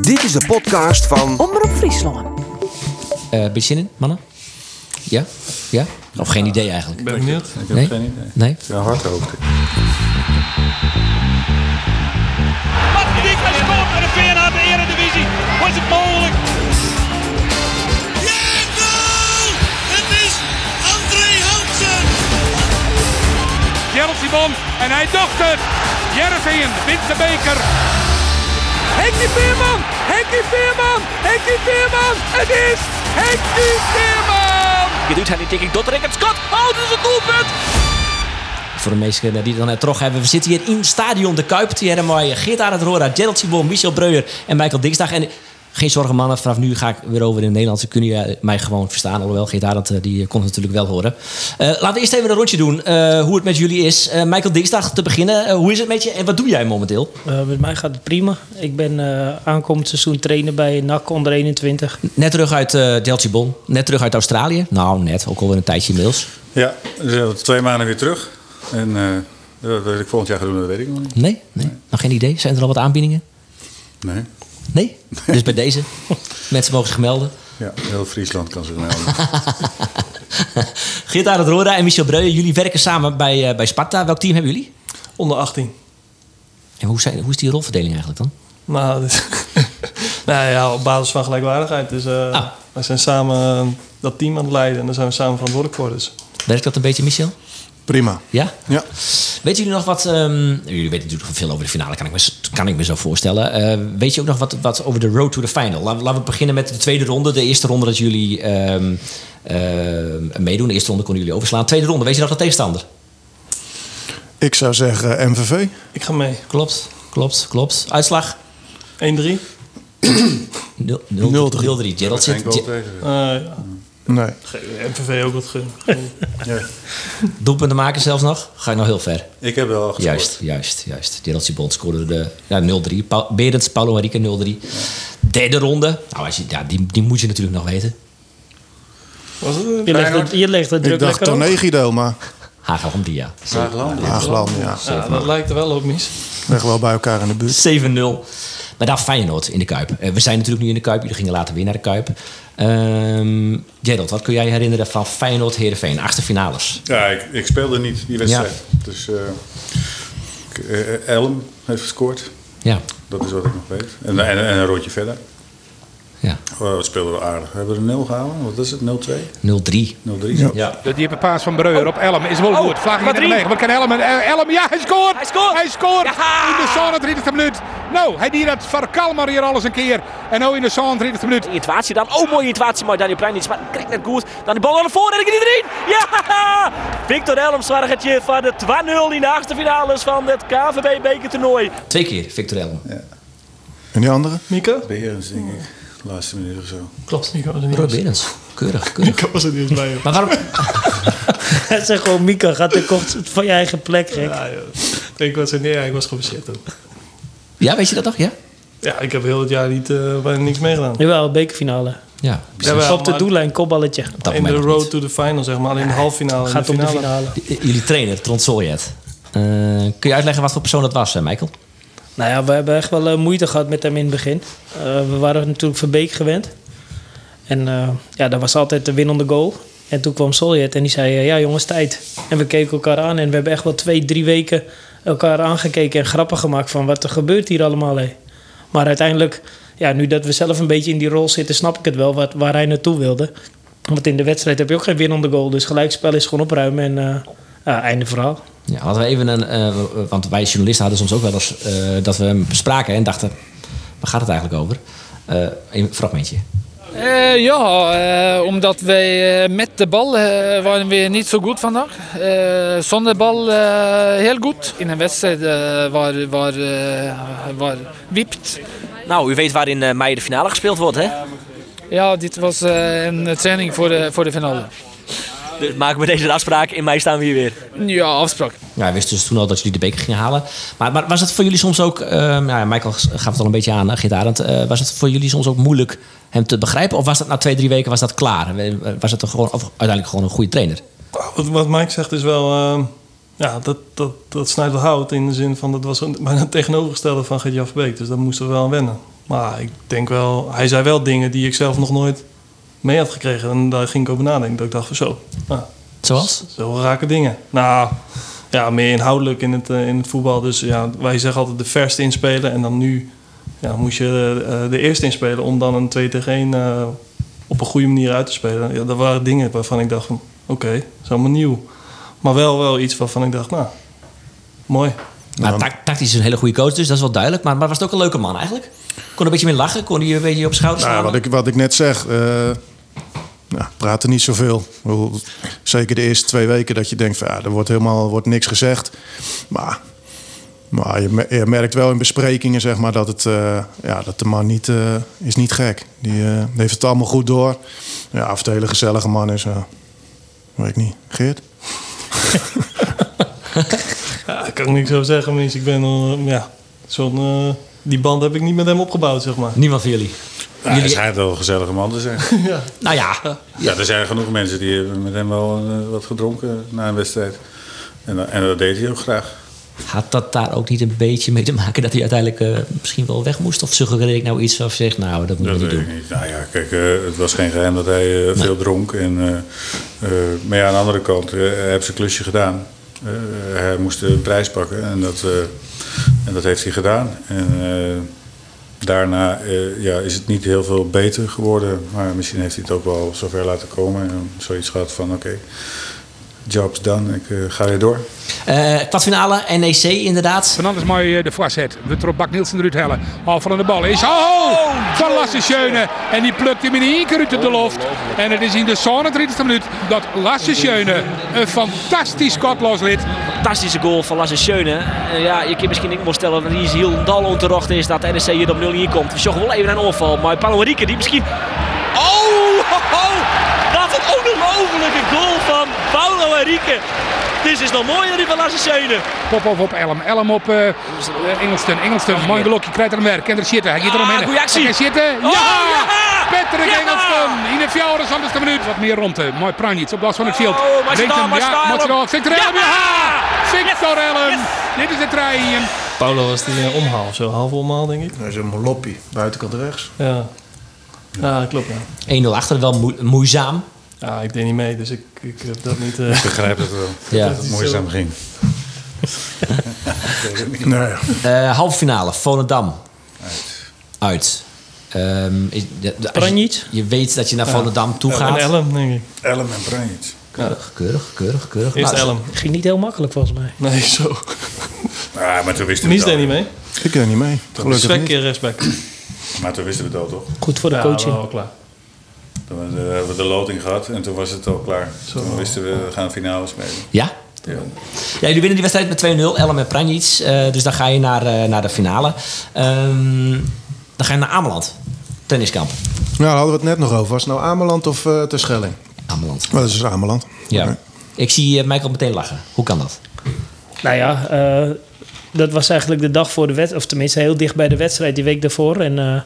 Dit is de podcast van Omroep Friesland. Eh beetje zin in, mannen? Ja? Ja? Of geen idee eigenlijk? Ben benieuwd. Ik heb Nee? geen idee. Nee? Ja, hard ook. Mats Dijkman scoort met de VNH de Eredivisie. Was het mogelijk? goal! Het is André Hansen! Gerald Simon en hij docht het. Jervingen wint de beker. Henkie Veerman! Henkie Veerman! Henkie Veerman! Het is Henkie Veerman! Je doet hij niet tegen tot Rickert Scott. Oh, dat is een doelpunt! Voor de meesten eh, die er dan uit trog hebben. We zitten hier in het Stadion de Kuip. Hier hebben wij Geert Arend Roora, eh, Gerald Simon, Michel Breuer en Michael Diksdag. En eh, geen zorgen mannen, vanaf nu ga ik weer over in het Nederlands. Dan kunnen jullie mij gewoon verstaan. Alhoewel, Geert Arend eh, die kon het natuurlijk wel horen. Eh, laten we eerst even een rondje doen eh, hoe het met jullie is. Eh, Michael Diksdag, te beginnen. eh, hoe is het met je en wat doe jij momenteel? Eh, met mij gaat het prima. Ik ben eh, aankomend seizoen trainer bij NAC onder 21. Net terug uit eh Deltje Bon. Net terug uit Australië. Nou, net. Ook alweer een tijdje inmiddels. Ja, dus we zijn twee maanden weer terug. En eh, wat ik volgend jaar ga doen, dat weet ik nog niet. Nee? Nee? Nog geen idee? Zijn er al wat aanbiedingen? Nee. Nee? Dus bij deze. Mensen mogen zich melden. Ja, heel Friesland kan zich melden. Geert Arend Roda en Michel Breuer, jullie werken samen bij, eh, bij Sparta. Welk team hebben jullie? Onder 18. En hoe, zijn, hoe is die rolverdeling eigenlijk dan? Nou, dus, nou ja, op basis van gelijkwaardigheid. Dus eh, Ah. wij zijn samen eh, dat team aan het leiden en daar zijn we samen verantwoordelijk voor. Dus. Werkt dat een beetje, Michel? Prima. Ja? Ja. Weten jullie nog wat... ehm, jullie weten natuurlijk veel over de finale, kan ik me, kan ik me zo voorstellen. Eh, weet je ook nog wat, wat over de road to the final? Laten, we- laten we beginnen met de tweede ronde. De eerste ronde dat jullie ehm, ehm, meedoen. De eerste ronde konden jullie overslaan. Tweede ronde, weet je nog de tegenstander? Ik zou zeggen MVV. Ik ga mee. 1-3. Klopt, klopt, klopt. Uitslag? Nul- nul- 0-3. 0-3. Gerald Geen zit... goal Ge- tegen. Eh, ja. Nee. MVV ook wat gun. Doelpunten maken zelfs nog? Ga ik nog heel ver. Ik heb wel gescoord. Juist, juist, juist. Gerald Sibon scoorde de ja, 0-3. Pa Berends, Paulo Henrique 0-3. Derde ronde. Nou, als je, ja, die, die moet je natuurlijk nog weten. Was het een Je legt het, je legt het Ik druk dacht lekker op. Tornegido, maar Haga om Dia. Haagland. Haagland, ja. Ja, dat lijkt er wel op, mis. Weg wel bij elkaar in de buurt. 7-0. Maar daar Feyenoord in de Kuip. Eh, we zijn natuurlijk nu in de Kuip. Jullie gingen later weer naar de Kuip. Ehm Gerald, wat kun jij herinneren van Feyenoord-Heerenveen? Achtste finales. Ja, ik, ik speelde niet die wedstrijd. Dus eh, ik- eh, Elm heeft gescoord. Ja, Dat is wat ik nog weet. En, en, en een rondje verder. ja. Oh, dat speelden we aardig. Hebben we een 0 gehouden? Wat is het? 0-2? 0-3. 0-3? Ja. De diepe paas van Breuer op Elm is wel goed. Vlag in de Oh, Madrid. beweging. Wat kan Elm? Eh, Elm, ja, hij scoort! Hij scoort! In de 37 minuut. Nou, hij deed dat verkalmer hier alles een keer. En nou in de 37 minuut. Itwatie dan. Oh, mooie Itwatie. Maar Daniel Plein iets. Maar krijgt net goed. Dan de bal aan de voorreden. En iedereen. Ja! Victor Elms waren het je van de 2-0 in de achtste finales van het KVB bekertoernooi. Twee keer Victor Elm. En die andere? Mieke? Berends, denk ik. Laatste minuut of zo. Klopt. Ik was er niet Roy eens. Berends. Keurig, keurig. was er niet bij. Maar waarom... Hij zegt gewoon, Mika, gaat de kocht van je eigen plek, gek. Ik was er niet, ja, ik was geblesseerd ook. Ja, weet je dat nog? Ja? Ja, ik heb heel het jaar niet, eh, bijna niks meegedaan. Jawel, bekerfinale. Ja. Jawel, Op de maar doellijn, kopballetje. dat In de moment nog road niet. to the final, zeg maar. Alleen de halve finale. Gaat de om de finale. finale. J- Jullie trainer, Trond Soljet. Eh, kun je uitleggen wat voor persoon dat was, eh, Michael? Nou ja, we hebben echt wel eh, moeite gehad met hem in het begin. Eh, we waren natuurlijk van Beek gewend. En eh, ja, dat was altijd de winnende goal. En toen kwam Soljet en die zei, eh, ja jongens, tijd. En we keken elkaar aan en we hebben echt wel twee, drie weken elkaar aangekeken en grappen gemaakt van wat er gebeurt hier allemaal. Hé. Maar uiteindelijk, ja, nu dat we zelf een beetje in die rol zitten, snap ik het wel wat, waar hij naartoe wilde. Want in de wedstrijd heb je ook geen winnende goal, dus gelijkspel is gewoon opruimen en eh, ja, einde verhaal. Ja, hadden we even een, eh, want wij journalisten hadden soms ook wel eens eh, dat we hem bespraken en dachten, waar gaat het eigenlijk over? Eh, een fragmentje. Eh, ja, eh, omdat wij eh, met de bal eh, waren we niet zo goed vandaag. Eh, zonder bal eh, heel goed. In een wedstrijd eh, waar, waar, eh, waar wiept. Nou, u weet waar in eh, mei de finale gespeeld wordt, hè? Ja, dit was eh, een training voor de, voor de finale. Dus maken we deze de afspraak. In mei staan we hier weer. Ja, afspraak. Ja, we wisten dus toen al dat jullie de beker gingen halen. Maar, maar was het voor jullie soms ook, eh, nou ja, Michael gaf het al een beetje aan, hè, Geert Arend, eh, was het voor jullie soms ook moeilijk hem te begrijpen? Of was dat na twee, drie weken was dat klaar? Eh, Was het toch gewoon, of uiteindelijk gewoon een goede trainer? Wat, wat Mike zegt is wel... ehm, ja, dat, dat, dat snijdt wel hout in de zin van... Dat was een- bijna het tegenovergestelde van Gert-Jan Verbeek. Dus daar moesten we wel aan wennen. Maar ik denk wel, hij zei wel dingen die ik zelf nog nooit mee had gekregen. En daar ging ik over nadenken. Dat ik dacht van zo, nou, Zoals? dat zijn wel rake dingen. Nou, ja, meer inhoudelijk in het, eh, in het voetbal. Dus ja, wij zeggen altijd de verste inspelen. En dan nu ja, moest je eh, de eerste inspelen om dan een 2 tegen 1 eh, op een goede manier uit te spelen. Ja, dat waren dingen waarvan ik dacht van oké, dat is allemaal nieuw. Maar wel, wel iets waarvan ik dacht, nou, mooi. Maar tac- tactisch is een hele goede coach, dus dat is wel duidelijk. Maar, maar was het ook een leuke man eigenlijk? Kon een beetje meer lachen? Kon hij een beetje op schouders Nou, slaan? wat ik, wat ik net zeg, eh nou, praat er niet zoveel. Ik bedoel, Zeker de eerste twee weken dat je denkt, van, ja, er wordt helemaal wordt niks gezegd. Maar, maar je, me- je merkt wel in besprekingen zeg maar, dat, het, eh, ja, dat de man niet, eh, is niet gek Die eh, heeft het allemaal goed door. Ja, of het een hele gezellige man is, ja, weet ik niet. Geert? Ja, ik kan ik niks zo zeggen, mensen. Ik ben eh, ja, zo'n. eh, die band heb ik niet met hem opgebouwd, zeg maar. Niemand van jullie. Nou, hij schijnt wel een gezellige man te zijn. Nou ja, Ja, er zijn genoeg mensen die hebben met hem wel eh, wat gedronken na een wedstrijd. En, dat- en dat deed hij ook graag. had dat daar ook niet een beetje mee te maken dat hij uiteindelijk eh, misschien wel weg moest? Of suggereer ik nou iets of zeg, nou dat moet je Dat niet weet ik doen. niet. Nou ja, kijk, eh, het was geen geheim dat hij eh, veel dronk. En, eh, eh, maar ja, aan de andere kant, eh, hij heeft zijn klusje gedaan. Eh, hij moest een prijs pakken en dat, eh, en dat heeft hij gedaan. En eh, daarna eh, ja, is het niet heel veel beter geworden. Maar misschien heeft hij het ook wel zover laten komen. En zoiets gehad van, oké, job's done, ik eh, ga weer door. Eh, Kwartfinale, NEC inderdaad. Fernandes mooi eh, de voorzet. We erop Bak Nielsen eruit hellen. Al van aan de bal is. Oh! Van Lasse Schöne. En die plukt hem in één keer uit de loft. En het is in de 37e minuut dat Lasse Schöne een fantastisch schot losliet. Fantastische goal van Lasse Schöne. Eh, ja, je kunt misschien ook wel stellen dat hij heel dal onterecht is dat NEC hier op 0 hier komt. We zochten wel even een onval, maar Paulo Henrique die misschien... Oh, ho, ho. wat een ongelofelijke goal van Paulo Henrique. Dit is nog mooier dan die van Lasse Schöne. Popov op Elm. Elm op eh, eh, Engelston. Engelston. Mooi blokje. Krijgt er hem weer. Kent er zitten. Hij gaat er omheen. Ah, goeie actie. Hij gaat zitten. Ja! Oh, ja! Patrick Ja! Engelston. In de 74 minuut. Wat meer rondte. Mooi Pranjic op last van het veld. Oh, maar Denkt staal, hem, maar ja, staal. moet er al- Victor Elm. Ja! Ja! Victor Yes, Elm. yes. Dit is de trein. Paulo was die eh, omhaal, of zo half omhaal, denk ik. Dat is een loppie, buitenkant rechts. Ja, ja klopt. Ja. 1-0 achter, wel moe- moeizaam. ja, ik deed niet mee, dus ik, ik heb dat niet. eh, Ik begrijp dat wel. Ja. Dat het moeizaam ging. Nee, Eh, halve finale, Volendam. Uit. Ehm, is- de- de- als je- Pranjic? Je weet dat je naar Volendam toe een gaat. Elm, denk ik. Ellen en Branjic. Keurig, keurig, keurig, keurig. Eerst Nou, Elm. Ging niet heel makkelijk volgens mij. Nee, zo. Ah, maar toen wisten we Mies het al. deed niet mee. ik ken niet mee. Gelukkig Zwek niet. keer rechtsback. Maar toen wisten we het al, toch? Goed voor de Ja, coaching. wel klaar. Toen hebben we de- hebben we de loting gehad en toen was het al klaar. Toen wisten we, we gaan finale spelen. Ja? Ja. Ja, jullie winnen die wedstrijd met 2-0. Elm en Pranjic. Eh, dus dan ga je naar, eh, naar de finale. Ehm, dan ga je naar Ameland. Tenniskamp. Nou, daar hadden we het net nog over. Was het nou Ameland of eh Terschelling? Ameland. Wel, dat is dus Ameland. Ja. Oké. Ik zie eh, Michael meteen lachen. Hoe kan dat? Nou ja, eh, dat was eigenlijk de dag voor de wedstrijd. Of tenminste, heel dicht bij de wedstrijd die week daarvoor. En eh,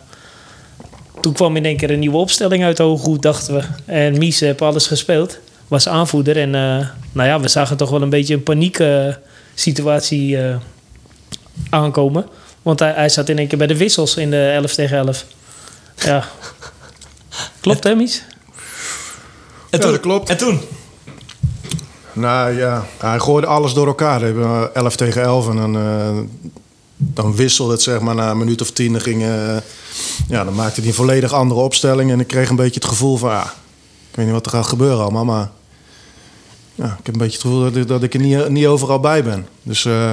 toen kwam in één keer een nieuwe opstelling uit Hooggoed, dachten we. En Mies heeft alles gespeeld. Was aanvoerder. En eh, nou ja, we zagen toch wel een beetje een paniek eh, situatie eh, aankomen. Want hij, hij zat in één keer bij de wissels in de 11 tegen 11. Ja. Klopt hè, Mies? En dat klopt. En toen? Nou ja, hij gooide alles door elkaar. We hebben 11 tegen 11 en dan, eh, dan wisselde het zeg maar na een minuut of tien. Dan, ging, eh, ja, dan maakte hij een volledig andere opstelling en ik kreeg een beetje het gevoel van... Ah, ik weet niet wat er gaat gebeuren allemaal, maar ja, ik heb een beetje het gevoel dat ik, dat ik er niet, niet overal bij ben. Dus eh,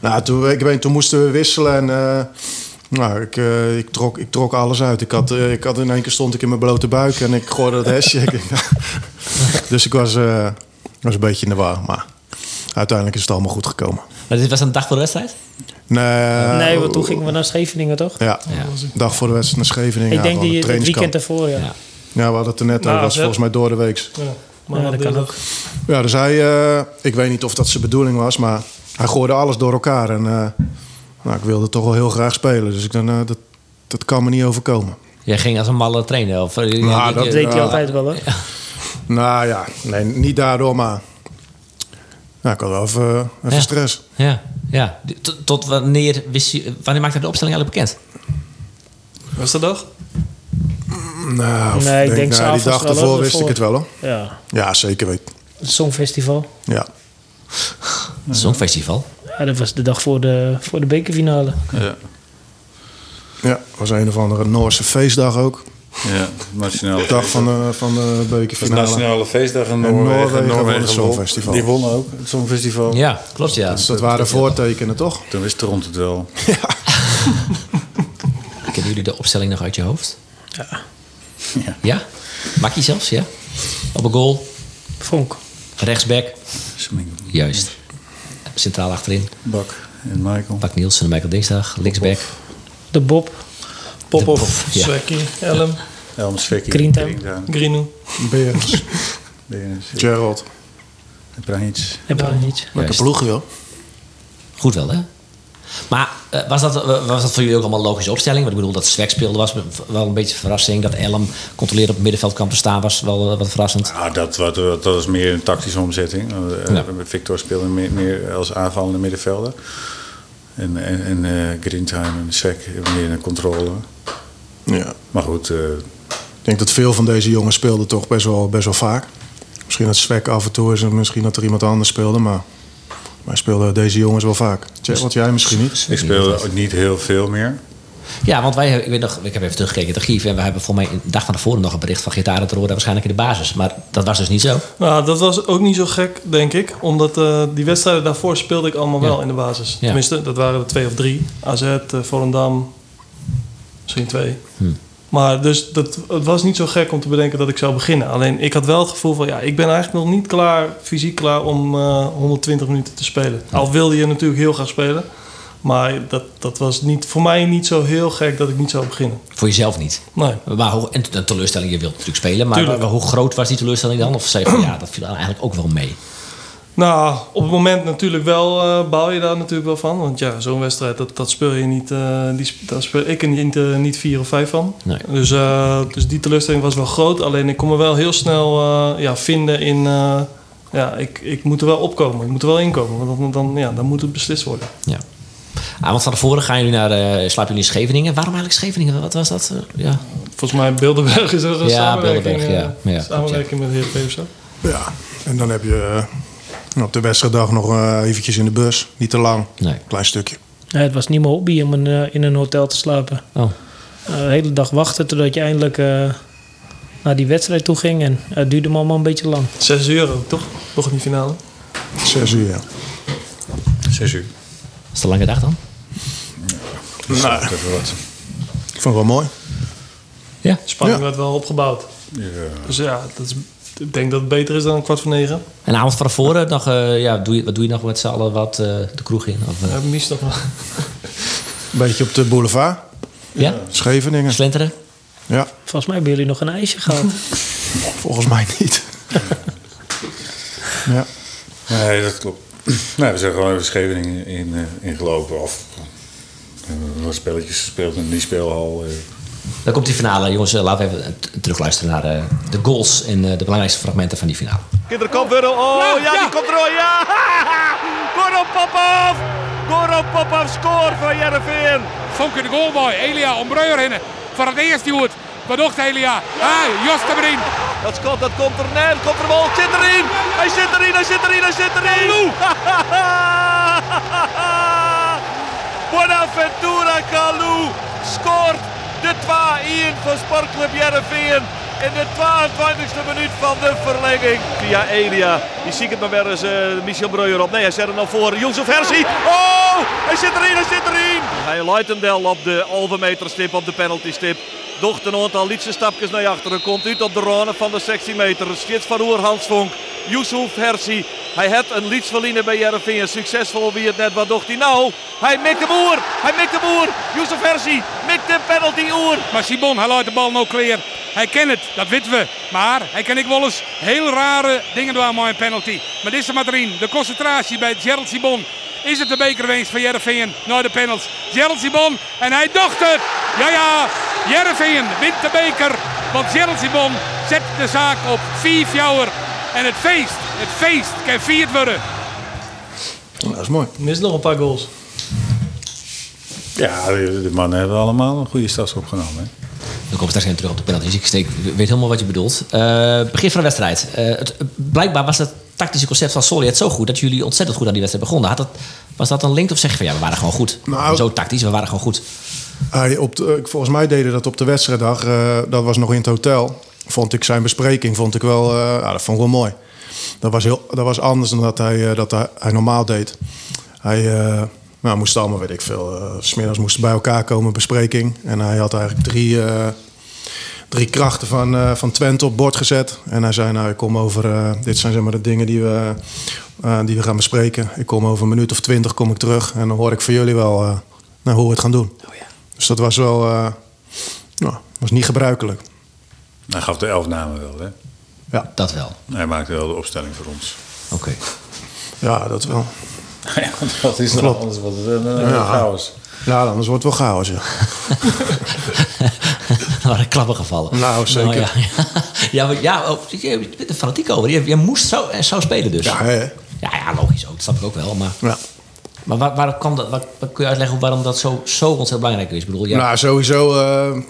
nou, toen, ik weet, toen moesten we wisselen en eh, nou, ik, eh, ik, trok, ik trok alles uit. Ik had, eh, ik had in één keer stond ik in mijn blote buik en ik gooide dat hesje. Ik denk, dus ik was, eh, was een beetje in de war. Maar uiteindelijk is het allemaal goed gekomen. Maar dit was een dag voor de wedstrijd? Nee, nee, want toen gingen we naar Scheveningen toch? eh, Ja, dag voor de wedstrijd naar Scheveningen. Ik denk ja, die, die, het weekend trainingskamp. daarvoor, ja. Ja. Ja, we hadden het er net over. Nou, Dat was hè? volgens mij door de week. Ja. Maar dat kan ook. Ja, dus hij... eh, ik weet niet of dat zijn bedoeling was, maar hij gooide alles door elkaar. En eh, nou, ik wilde toch wel heel graag spelen. Dus ik dacht, nou, dat, dat kan me niet overkomen. Jij ging als een malle trainen? Of, eh, Nou, dat- Dat deed hij Ja. altijd wel, hè? Nou ja, nee, niet daardoor, maar... Nou, ik had wel even, even Ja. stress. Ja, ja. Tot, tot wanneer, wist je, wanneer maakte hij de opstelling eigenlijk bekend? Was dat dat? Nou, of Nee, ik denk nou, die s'avonds dag wel, hoor, ervoor wist ik ervoor. het wel hoor. Ja, Ja, zeker weten. het Songfestival. Ja. Songfestival. Ja, dat was de dag voor de, voor de bekerfinale. Ja. ja, was een of andere Noorse feestdag ook. ja. Nationale Dag van de, van de Het bekerfinale. nationale feestdag in Noorwegen. Noorwegen. Noorwegen won Noorwegen het won. Songfestival. Die wonnen ook het Songfestival. Ja, klopt ja. Dus dat waren voortekenen toch? Toen wist Trond het wel. Kennen jullie de opstelling nog uit je hoofd? Ja. Ja? Makkie zelfs, ja? Op een goal, Vonk. rechtsback. Juist. Centraal achterin, Bak en Michael. Pak Nielsen en Michael Dingsdag. Linksback, De Bob. De Popov, Popov, ja. Swekkie, Elm, Elmer Svekkie. Krientam. Krientam. Grinu. Berens, Berends. Gerald. Pranic. Heb je niet. Lekker ploeg joh. Goed wel, hè? Maar eh, was, dat, eh, was dat voor jullie ook allemaal een logische opstelling? Want ik bedoel, dat Zwek speelde was wel een beetje verrassing. Dat Elm controleerde op het middenveld kwam te staan was wel eh, wat verrassend. Ah, dat, wat, wat- dat is meer een tactische omzetting. Eh, Ja. Victor speelde meer, meer als aanvallende middenvelder. En, en, en eh, Grindheim en Svek meer een controle. Ja. Maar goed, eh, Ik denk dat veel van deze jongens speelden toch best wel, best wel vaak. Misschien dat Swek af en toe is en misschien dat er iemand anders speelde, maar wij speelden deze jongens wel vaak. Gerald, jij misschien niet? ik speelde niet heel veel meer. Ja, want wij, hebben- ik, weet nog, ik heb even teruggekeken in het archief. En we hebben volgens mij een dag van tevoren nog een bericht van Gitaar dat Roda waarschijnlijk in de basis. Maar dat was dus niet zo. Nou, dat was ook niet zo gek, denk ik. Omdat eh, die wedstrijden daarvoor speelde ik allemaal wel in de basis. Ja. Tenminste, dat waren er twee of drie. AZ, eh, Volendam, misschien twee. Hm. Maar dus dat, het was niet zo gek om te bedenken dat ik zou beginnen. Alleen ik had wel het gevoel van, ja, ik ben eigenlijk nog niet klaar, fysiek klaar om eh, 120 minuten te spelen. Al wilde je natuurlijk heel graag spelen. Maar dat, dat was niet, voor mij niet zo heel gek dat ik niet zou beginnen. Voor jezelf niet. Nee. Maar hoe, en de teleurstelling, je wilt natuurlijk spelen. Maar Tuurlijk. maar hoe groot was die teleurstelling dan? Of zei je van ja, dat viel eigenlijk ook wel mee. Nou, op het moment natuurlijk wel eh baal je daar natuurlijk wel van. Want ja, zo'n wedstrijd, dat, dat speel je niet. eh, die, sp- daar speel ik er niet, eh, niet vier of vijf van. Nee. Dus, eh, dus die teleurstelling was wel groot. Alleen ik kon me wel heel snel eh, ja, vinden in. eh, ja, ik, ik moet er wel opkomen. Ik moet er wel inkomen. Want dan, dan, ja, dan moet het beslist worden. Ja. Ah, want van tevoren gaan jullie naar, eh, slapen jullie in Scheveningen. Waarom eigenlijk Scheveningen? Wat was dat? Eh, ja. Volgens mij Bilderberg is er een Ja, samenwerking. Bilderberg, ja. eh, Ja, samenwerking met Heerenveen of zo. Ja, en dan heb je eh, op de wedstrijddag nog eh, eventjes in de bus. Niet te lang, Nee. klein stukje. Nee, het was niet mijn hobby om een, eh, in een hotel te slapen. Oh. Eh, de hele dag wachten totdat je eindelijk eh, naar die wedstrijd toe ging. En eh, het duurde me allemaal een beetje lang. Zes euro, toch? Nog die finale. Zes uur, ja. Zes uur. Was het een lange dag dan? Dus dat is even wat. Ik vond het wel mooi. Ja. Spanning Ja. werd wel opgebouwd. Ja. Dus ja, dat is, ik denk dat het beter is dan een kwart voor negen. En avond van tevoren, nog, eh, ja, doe je, wat doe je nog met z'n allen wat eh, de kroeg in? Of, eh, Ja, mis nog wel. Beetje op de boulevard, ja. Scheveningen. Slenteren? Ja, Volgens mij hebben jullie nog een ijsje gehad. volgens mij niet. ja. Nee, dat klopt. Nee, we zijn gewoon even Scheveningen in, eh, ingelopen. Of eh, wat spelletjes gespeeld in die speelhal. eh. Dan komt die finale. Jongens, eh, laten we even eh, t- terugluisteren naar eh, de goals en eh, de belangrijkste fragmenten van die finale. Kinderkamp Wurl. Oh ja, die komt er al. Ja! Goran Popov! Goran Popov scoort voor Jereveen. Vonk in de goalboy. Elia om Breuer heen. Voor het eerst die hoort. Wat doet Elia? Ah, Jos de Brien. Dat schot, dat komt er net. Komt er wel. Het Zit erin. Hij zit erin, hij zit erin, hij zit erin. Bonaventura Kalou scoort de 2-1 voor Sportclub Jereveen. In de 22e minuut van de verlenging. Via Elia. Die ziet het maar weer eens eh, Michel Breuer op. Nee, hij zet hem al voor. Jozef Hersie. Oh, hij zit erin, hij zit erin. Hij leidt hem wel op de halve meter stip, op de penalty stip. Docht een aantal lietse stapjes naar achteren. Komt uit op de rone van de 16 meter. Schits van Oer Hans Vonk. Yusuf Hersi. Hij heeft een lietsverliener bij Jereveen. Succesvol wie het net. Wat docht hij nou? Hij mikt de boer. Hij mikt de boer. Yusuf Hersi mikt de penalty oer. Maar Sibon, hij laat de bal nou clear. Hij kent het, dat weten we. Maar hij kan ik wel eens heel rare dingen doen aan mijn penalty. Maar dit is er maar erin. De concentratie bij Gerald Sibon. Is het de bekerwinst van Jereveen? Nou, de penalty. Gerald Sibon en hij dacht het. Ja, ja. Jereveen wint de beker. Want Gerald Sibon zet de zaak op 4 jouwer. En het feest, het feest kan vierd worden. Dat is mooi. Mis nog een paar goals. Ja, de de mannen hebben allemaal een goede stats opgenomen. Hè? Dan komen we straks even terug op de penalties. Ik steek, weet helemaal wat je bedoelt. Eh, begin van de wedstrijd. Eh, het, blijkbaar was het tactische concept van Solliet zo goed... dat jullie ontzettend goed aan die wedstrijd begonnen. Had dat, was dat een link of zeg je van ja, we waren gewoon goed? Nou- zo tactisch, we waren gewoon goed. Hij Ah, op de- eh, volgens mij deden dat op de wedstrijddag. eh, dat was nog in het hotel. Vond ik zijn bespreking vond ik wel, eh, ja, dat vond ik wel mooi. Dat was, heel, dat was anders dan dat hij, eh, dat hij, hij normaal deed. Hij eh, nou, moest allemaal, weet ik veel, eh, 's smiddags moesten bij elkaar komen, bespreking. En hij had eigenlijk drie, eh, drie krachten van, eh, van Twente op bord gezet. En hij zei, nou, ik kom over, eh, dit zijn zeg maar de dingen die we, eh, die we gaan bespreken. Ik kom over een minuut of twintig kom ik terug en dan hoor ik van jullie wel eh, nou, hoe we het gaan doen. Dus dat was wel eh, nou, was niet gebruikelijk. Hij gaf de elf namen wel, hè? Dat wel. Hij maakte wel de opstelling voor ons. Oké. Ja, dat wel. ja, dat is Klopt. anders wat een eh, Ja. chaos. Ja, anders wordt het wel chaos. Ja. Er waren klappen gevallen. Nou, zeker. ja, ja. ja, maar- ja oh, je bent er fanatiek over. Je, je moest zo, en zo spelen dus. Ja, hè? Ja, ja, logisch ook. Dat snap ik ook wel. Maar, ja. maar waar, waar kwam dat, waar, waar kun je uitleggen waarom dat zo, zo ontzettend belangrijk is? Ik bedoel, ja, Nou, sowieso. eh,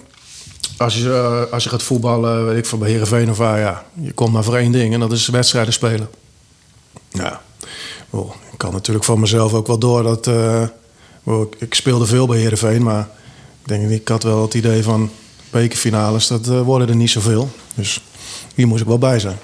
als, je, eh, als je gaat voetballen, weet ik van bij Herenveen of waar, ja. Je komt maar voor één ding en dat is wedstrijden spelen. Ja. Wel, ik kan natuurlijk van mezelf ook wel door dat. eh, wel, ik, ik speelde veel bij Herenveen, maar ik denk ik had wel het idee van bekerfinales, dat eh, worden er niet zoveel. Dus hier moest ik wel bij zijn.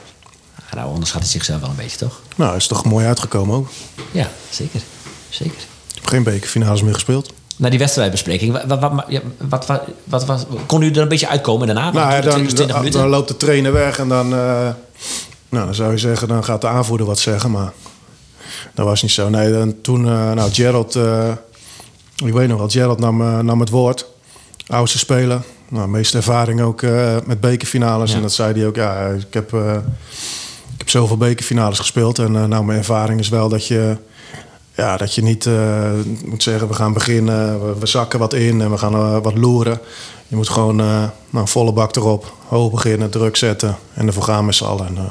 nou onderschat het zichzelf wel een beetje, toch? Nou, is toch mooi uitgekomen ook. Ja, zeker. Zeker. Ik heb geen bekerfinales meer gespeeld. Na die wedstrijdbespreking, wa- wa- wa- ja, wat, wat, wat, was- kon u er een beetje uitkomen daarna? Want Nou, ja, het duurde dan, 20, 20 dan, minuten. dan loopt de trainer weg en dan, eh, nou, dan zou je zeggen, dan gaat de aanvoerder wat zeggen, maar dat was niet zo. Nee, dan, toen, eh, nou, Gerald, eh, ik weet nog wel, Gerald nam, eh, nam het woord. Oudste speler, nou, meeste ervaring ook eh, met bekerfinales. En dat zei hij ook, ja, ik heb, eh, ik heb zoveel bekerfinales gespeeld en eh, nou, mijn ervaring is wel dat je... Ja, dat je niet eh, moet zeggen, we gaan beginnen, we, we zakken wat in en we gaan eh, wat loeren. Je moet gewoon eh, nou, volle bak erop, hoog beginnen, druk zetten en ervoor gaan met z'n allen. En, eh,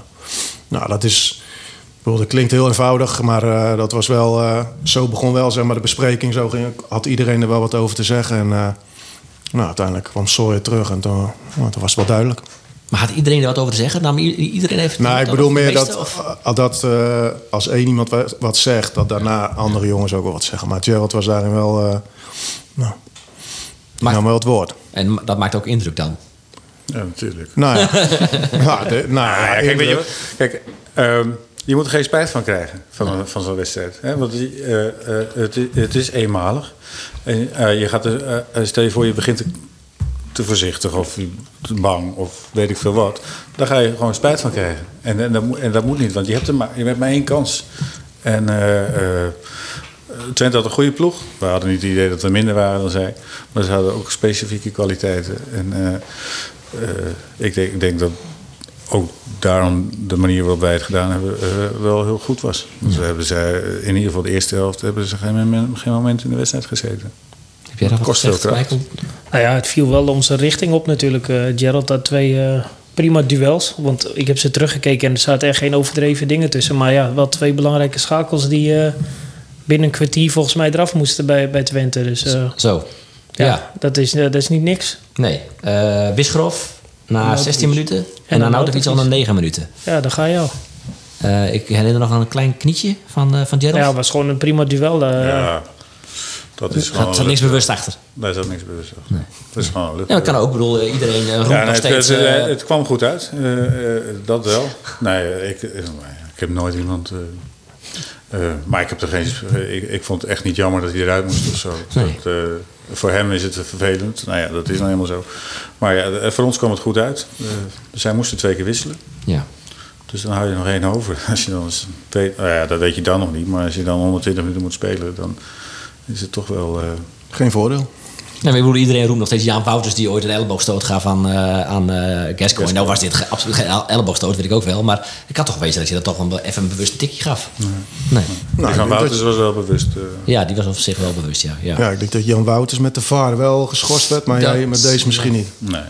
nou, dat is, ik bedoel, dat klinkt heel eenvoudig, maar eh, dat was wel, eh, zo begon wel zeg maar, de bespreking. Zo ging, had iedereen er wel wat over te zeggen en eh, nou, uiteindelijk kwam Sawyer terug en toen, nou, toen was het wel duidelijk. Maar had iedereen er wat over te zeggen? Nam i- iedereen even Nou, ik over de bedoel meer meeste, dat, of- eh, dat eh, als één iemand wa- wat zegt, dat daarna andere jongens ook wel wat zeggen. Maar Gerald was daarin wel, eh nou, die Maar- nam wel het woord. En dat maakt ook indruk dan. Ja, natuurlijk. Nou ja, nou, de- nou, Ah, ja, ja, kijk, weet je, indruk. wat? kijk ehm, je moet er geen spijt van krijgen, van, een- van zo'n wedstrijd. Hè? Want die, eh, eh, het, i- het is eenmalig. En, eh, je gaat er, eh, eh, stel je voor, je begint te, te voorzichtig of te bang of weet ik veel wat. Daar ga je gewoon spijt van krijgen. En, en, dat, moet- en dat moet niet, want je hebt, er maar, je hebt maar één kans. En eh, eh, Twente had een goede ploeg. We hadden niet het idee dat we minder waren dan zij. Maar ze hadden ook specifieke kwaliteiten. En eh, eh, ik, denk, ik denk dat ook daarom de manier waarop wij het gedaan hebben eh, wel heel goed was. Dus we hebben zij, in ieder geval de eerste helft, hebben ze geen, moment- geen moment in de wedstrijd gezeten. Heb jij dat kost veel kracht. Nou ja, het viel wel onze richting op natuurlijk. eh, Gerald had twee eh, prima duels. Want ik heb ze teruggekeken en er zaten echt geen overdreven dingen tussen. Maar ja, wel twee belangrijke schakels die eh, binnen een kwartier volgens mij eraf moesten bij, bij Twente. Dus eh, Zo. ja, Ja. Dat, is, eh, dat is niet niks. Nee. Eh Wisgrof na Nautovic. 16 minuten. dan En dan Nautovic al na Nautovic. 9 minuten. Ja, daar ga je al. Eh, ik herinner nog aan een klein knietje van, eh van Gerald. Ja, het was gewoon een prima duel. eh. ja, dat is Er gewoon... zat niks bewust achter. Daar zat niks bewust achter. Dat is gewoon een Ja, dat kan ook. Ik bedoel, eh, iedereen eh, roept Ja, nee, nog het, steeds... het- eh, het- het kwam goed uit, Eh, eh, dat wel. Nee, eh, ik, eh, ik heb nooit iemand... eh, eh, maar ik, heb er geen, eh, ik, ik vond het echt niet jammer dat hij eruit moest of zo. Nee. Dat, eh, voor hem is het vervelend. Nou ja, dat is nou helemaal zo. Maar ja, eh, voor ons kwam het goed uit. Eh, zij moesten twee keer wisselen. ja. Dus dan hou je er nog één over. Als je dan eens weet, nou ja, dat weet je dan nog niet. Maar als je dan 120 minuten moet spelen, dan is het toch wel... eh, geen voordeel. Ja, maar ik bedoel, iedereen roept nog steeds Jaan Wouters die ooit een elleboogstoot gaf aan, eh aan eh Gascoigne. Nou was dit ge- absoluut geen el- elleboogstoot, weet ik ook wel. Maar ik had toch wezen dat je dat toch wel even een bewust tikje gaf. Nee. Nou, die ik van denk dat- Wouters was wel bewust. eh, Ja, die was op zich wel bewust, ja. ja. Ja, ik denk dat Jan Wouters met de VAR wel geschorst werd, maar Dat- jij met deze misschien niet. nee. Nou,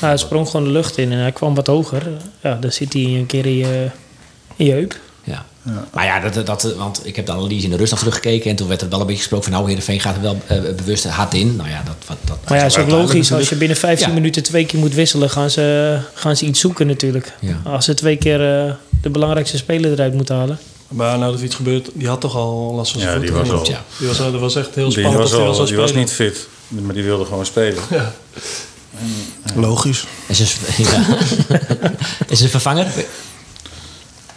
hij sprong gewoon de lucht in en hij kwam wat hoger. Ja, dan zit hij een keer in je, in je heup. Ja. Maar ja, dat, dat, want ik heb de analyse in de rust nog teruggekeken. En toen werd er wel een beetje gesproken van... nou, Heerenveen gaat er wel eh, bewust hard in. Nou ja, dat... wat- dat Maar ja, is ook logisch. Als je binnen 15 Ja. minuten twee keer moet wisselen, gaan ze, gaan ze iets zoeken natuurlijk. Ja. Als ze twee keer eh, de belangrijkste speler eruit moeten halen. Maar nou dat er iets gebeurt, die had toch al last van zijn Ja, voet, die was of niet? al- Ja. Die was, al- dat was echt heel Die spannend. was, of die al- was, al die was spelen. niet fit, maar die wilde gewoon spelen. Ja. Logisch. Is een, ja. is een vervanger?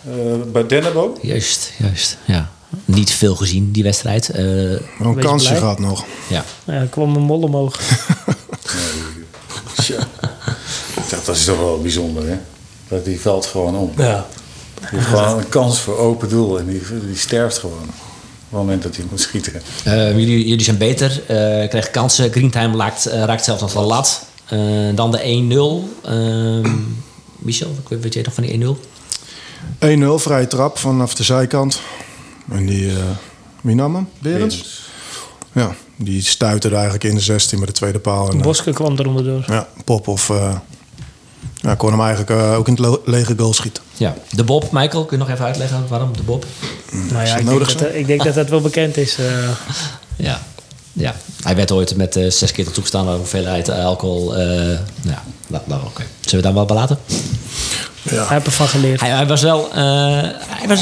Eh, bij Dennebo? Juist, juist. Ja. Niet veel gezien, die wedstrijd. Eh, Wel een Wees kansje blij. gehad nog. ja. Ja, er kwam een mol omhoog. Tja. Dat, dat is toch wel bijzonder, hè? Dat die valt gewoon om. Ja. Die heeft gewoon een kans voor open doel en die, die sterft gewoon. Op het moment dat hij moet schieten. Eh, jullie, jullie zijn beter, eh krijgen kansen. Greentime raakt, eh, raakt zelfs nog de lat. Eh, dan de 1-0. Ehm, Michel, wat weet jij nog van die 1-0? 1-0, vrije trap vanaf de zijkant. En die, eh, wie nam hem? Berends? Ja, die stuitte er eigenlijk in de 16 met de tweede paal. En, eh, Boske kwam er onderdoor. ja, Pop of... eh, ja, kon hem eigenlijk eh, ook in het lo- lege goal schieten. Ja. De Bob, Michael, kun je nog even uitleggen waarom de Bob? Hmm. Nou dat ja, ik denk, nodig dat, zo? ik denk dat dat wel bekend is. eh. Ja. ja. Hij werd ooit met eh, zes keer de toegestaande hoeveelheid alcohol. eh, ja, nou, nou, oké. Zullen we daar wel bij laten? Hij heeft ervan geleerd. Hij, hij was wel. eh, hij was,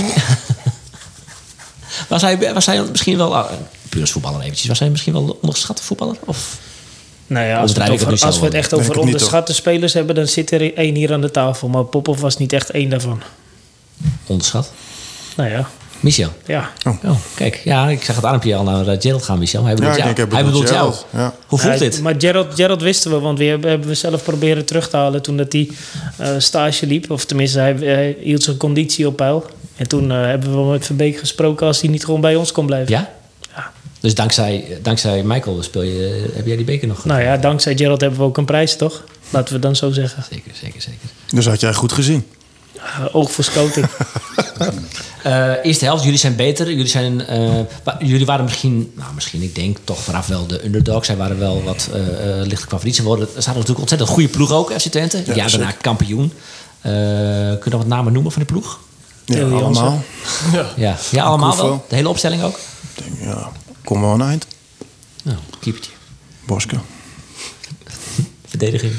was, hij, was hij misschien wel. ah, puur als voetballer eventjes. Was hij misschien wel een onderschatte voetballer? Of? Nou ja, als we het, Overdrijf ik het over, nu als we zo, het echt denk over het niet, onderschatte spelers hebben, dan zit er één hier aan de tafel. Maar Popov was niet echt één daarvan. Onderschat? Nou ja, Michel. ja. Oh, kijk. Ja, ik zag het armpje al naar eh, Gerald gaan, Michel. Hij bedoelt Ja, ik jou. denk, hij hij bedoelt bedoelt jou. Gerald, ja. Hoe voelt Ja, dit? Maar Gerald, Gerald wisten we, want we hebben, hebben we zelf proberen terug te halen toen dat hij eh, stage liep. Of tenminste, hij, hij hield zijn conditie op peil. En toen eh, hebben we wel met Verbeek gesproken als hij niet gewoon bij ons kon blijven. Ja? Ja. Dus dankzij, dankzij Michael speel je, heb jij die beker nog? Nou ja, dankzij Gerald hebben we ook een prijs, toch? Laten we dan zo zeggen. Zeker, zeker, zeker. Dus had jij goed gezien. Eh, oog voor schoting. Eh, eerste helft, jullie zijn beter. Jullie, zijn, eh, wa- jullie waren misschien, nou misschien, ik denk toch vanaf wel de underdogs. Zij waren wel wat eh eh, lichte favoriet. Ze worden, ze hadden natuurlijk ontzettend goede ploeg ook, FC Twente. Ja, daarna kampioen. Eh, kun je nog wat namen noemen van de ploeg? Ja, Theo Jansen. allemaal. Ja, ja allemaal wel. Koevo. De hele opstelling ook. Ik denk, ja, kom wel aan eind. Nou, keepertje. Boske. Verdediging.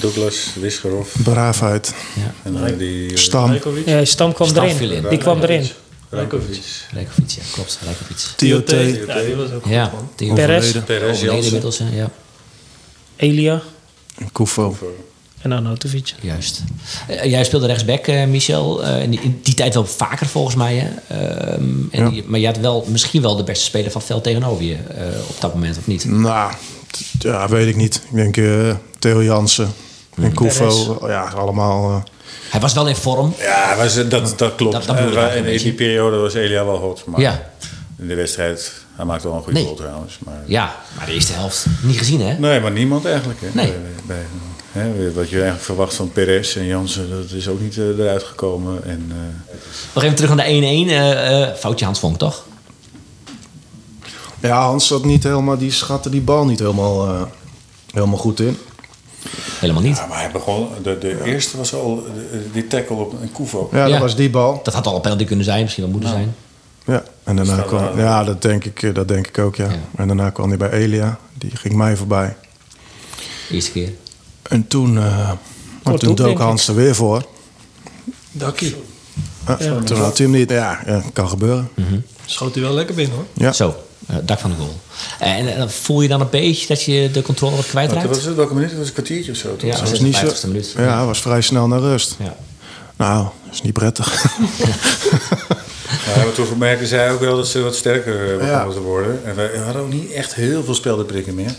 Douglas, Wisgerhoff. Braafheid. En dan die... eh, Stam. Ja, Stam kwam Stam viel in. erin. Die kwam erin. Rankovic. Rijkovic, ja, klopt. Rijkovic. Tiote. Ja, die was ook goed, Ja, man. Theo Perez, Perez Overleden Jansen. inmiddels, hè, ja. Elia Koufo. en Arnautovic. Juist. Eh, jij speelde rechtsback, eh, Michel. Eh, in, die, in die tijd wel vaker volgens mij. Hè? Ehm, en Ja. je- maar je had wel misschien wel de beste speler van het veld tegenover je eh, op dat moment, of Mm. niet? Nou, t- ja, weet ik niet. Ik denk eh, Theo Jansen en Mm. Koufo. Ja, allemaal. eh, Hij was wel in vorm. Ja, maar ze- dat, dat klopt. Dat- dat bedoel ik Eh, wij- eigenlijk in een die periode was Elia wel hot. Maar Ja. in de wedstrijd, hij maakte wel een goede Nee. goal trouwens. Maar, Ja, maar de eerste helft niet gezien, hè? Nee, maar niemand eigenlijk. Hè? Nee. Bij, bij- eh, hè, wat je eigenlijk verwacht van Perez en Jansen, dat is ook niet eh, eruit gekomen. En, eh, Nog even terug aan de 1-1. eh, eh, foutje Hans Vonk, toch? Ja, Hans zat niet helemaal. Die schatte die bal niet helemaal, eh, helemaal goed in. Helemaal niet. ja, maar hij begon, de, de eerste was al eh, de- die tackle op een eh, Koevo. Ja, Ja. dat was die bal. Dat had al een penalty kunnen zijn, misschien wel moeten zijn. Ja, en daarna Staat kwam. daar- Ja, dat denk ik, eh, dat denk ik ook, ja. Ja. En daarna kwam hij bij Elia. Die ging mij voorbij. Eerste keer. En toen. eh maar toen hoek, denk dook ik. Hans er weer voor. Dakkie. Ja, Toen had hij hem niet. Ja, ja kan gebeuren. Schoot hij wel lekker binnen hoor. Ja. Hm. Zo, eh, dak van de goal. En eh, voel je dan een beetje dat je de controle wat Wat kwijtraakt? was het? Welke minuut? Dat was een kwartiertje of zo. toch? Ja, Dat is niet 56e zo. minuut. Ja, hij was vrij snel naar rust. Ja. Nou, dat is niet prettig. Ja, maar toen merkten zij ook wel dat ze wat sterker eh, begonnen Ja. te worden. En wij we hadden ook niet echt heel veel speldenprikken meer.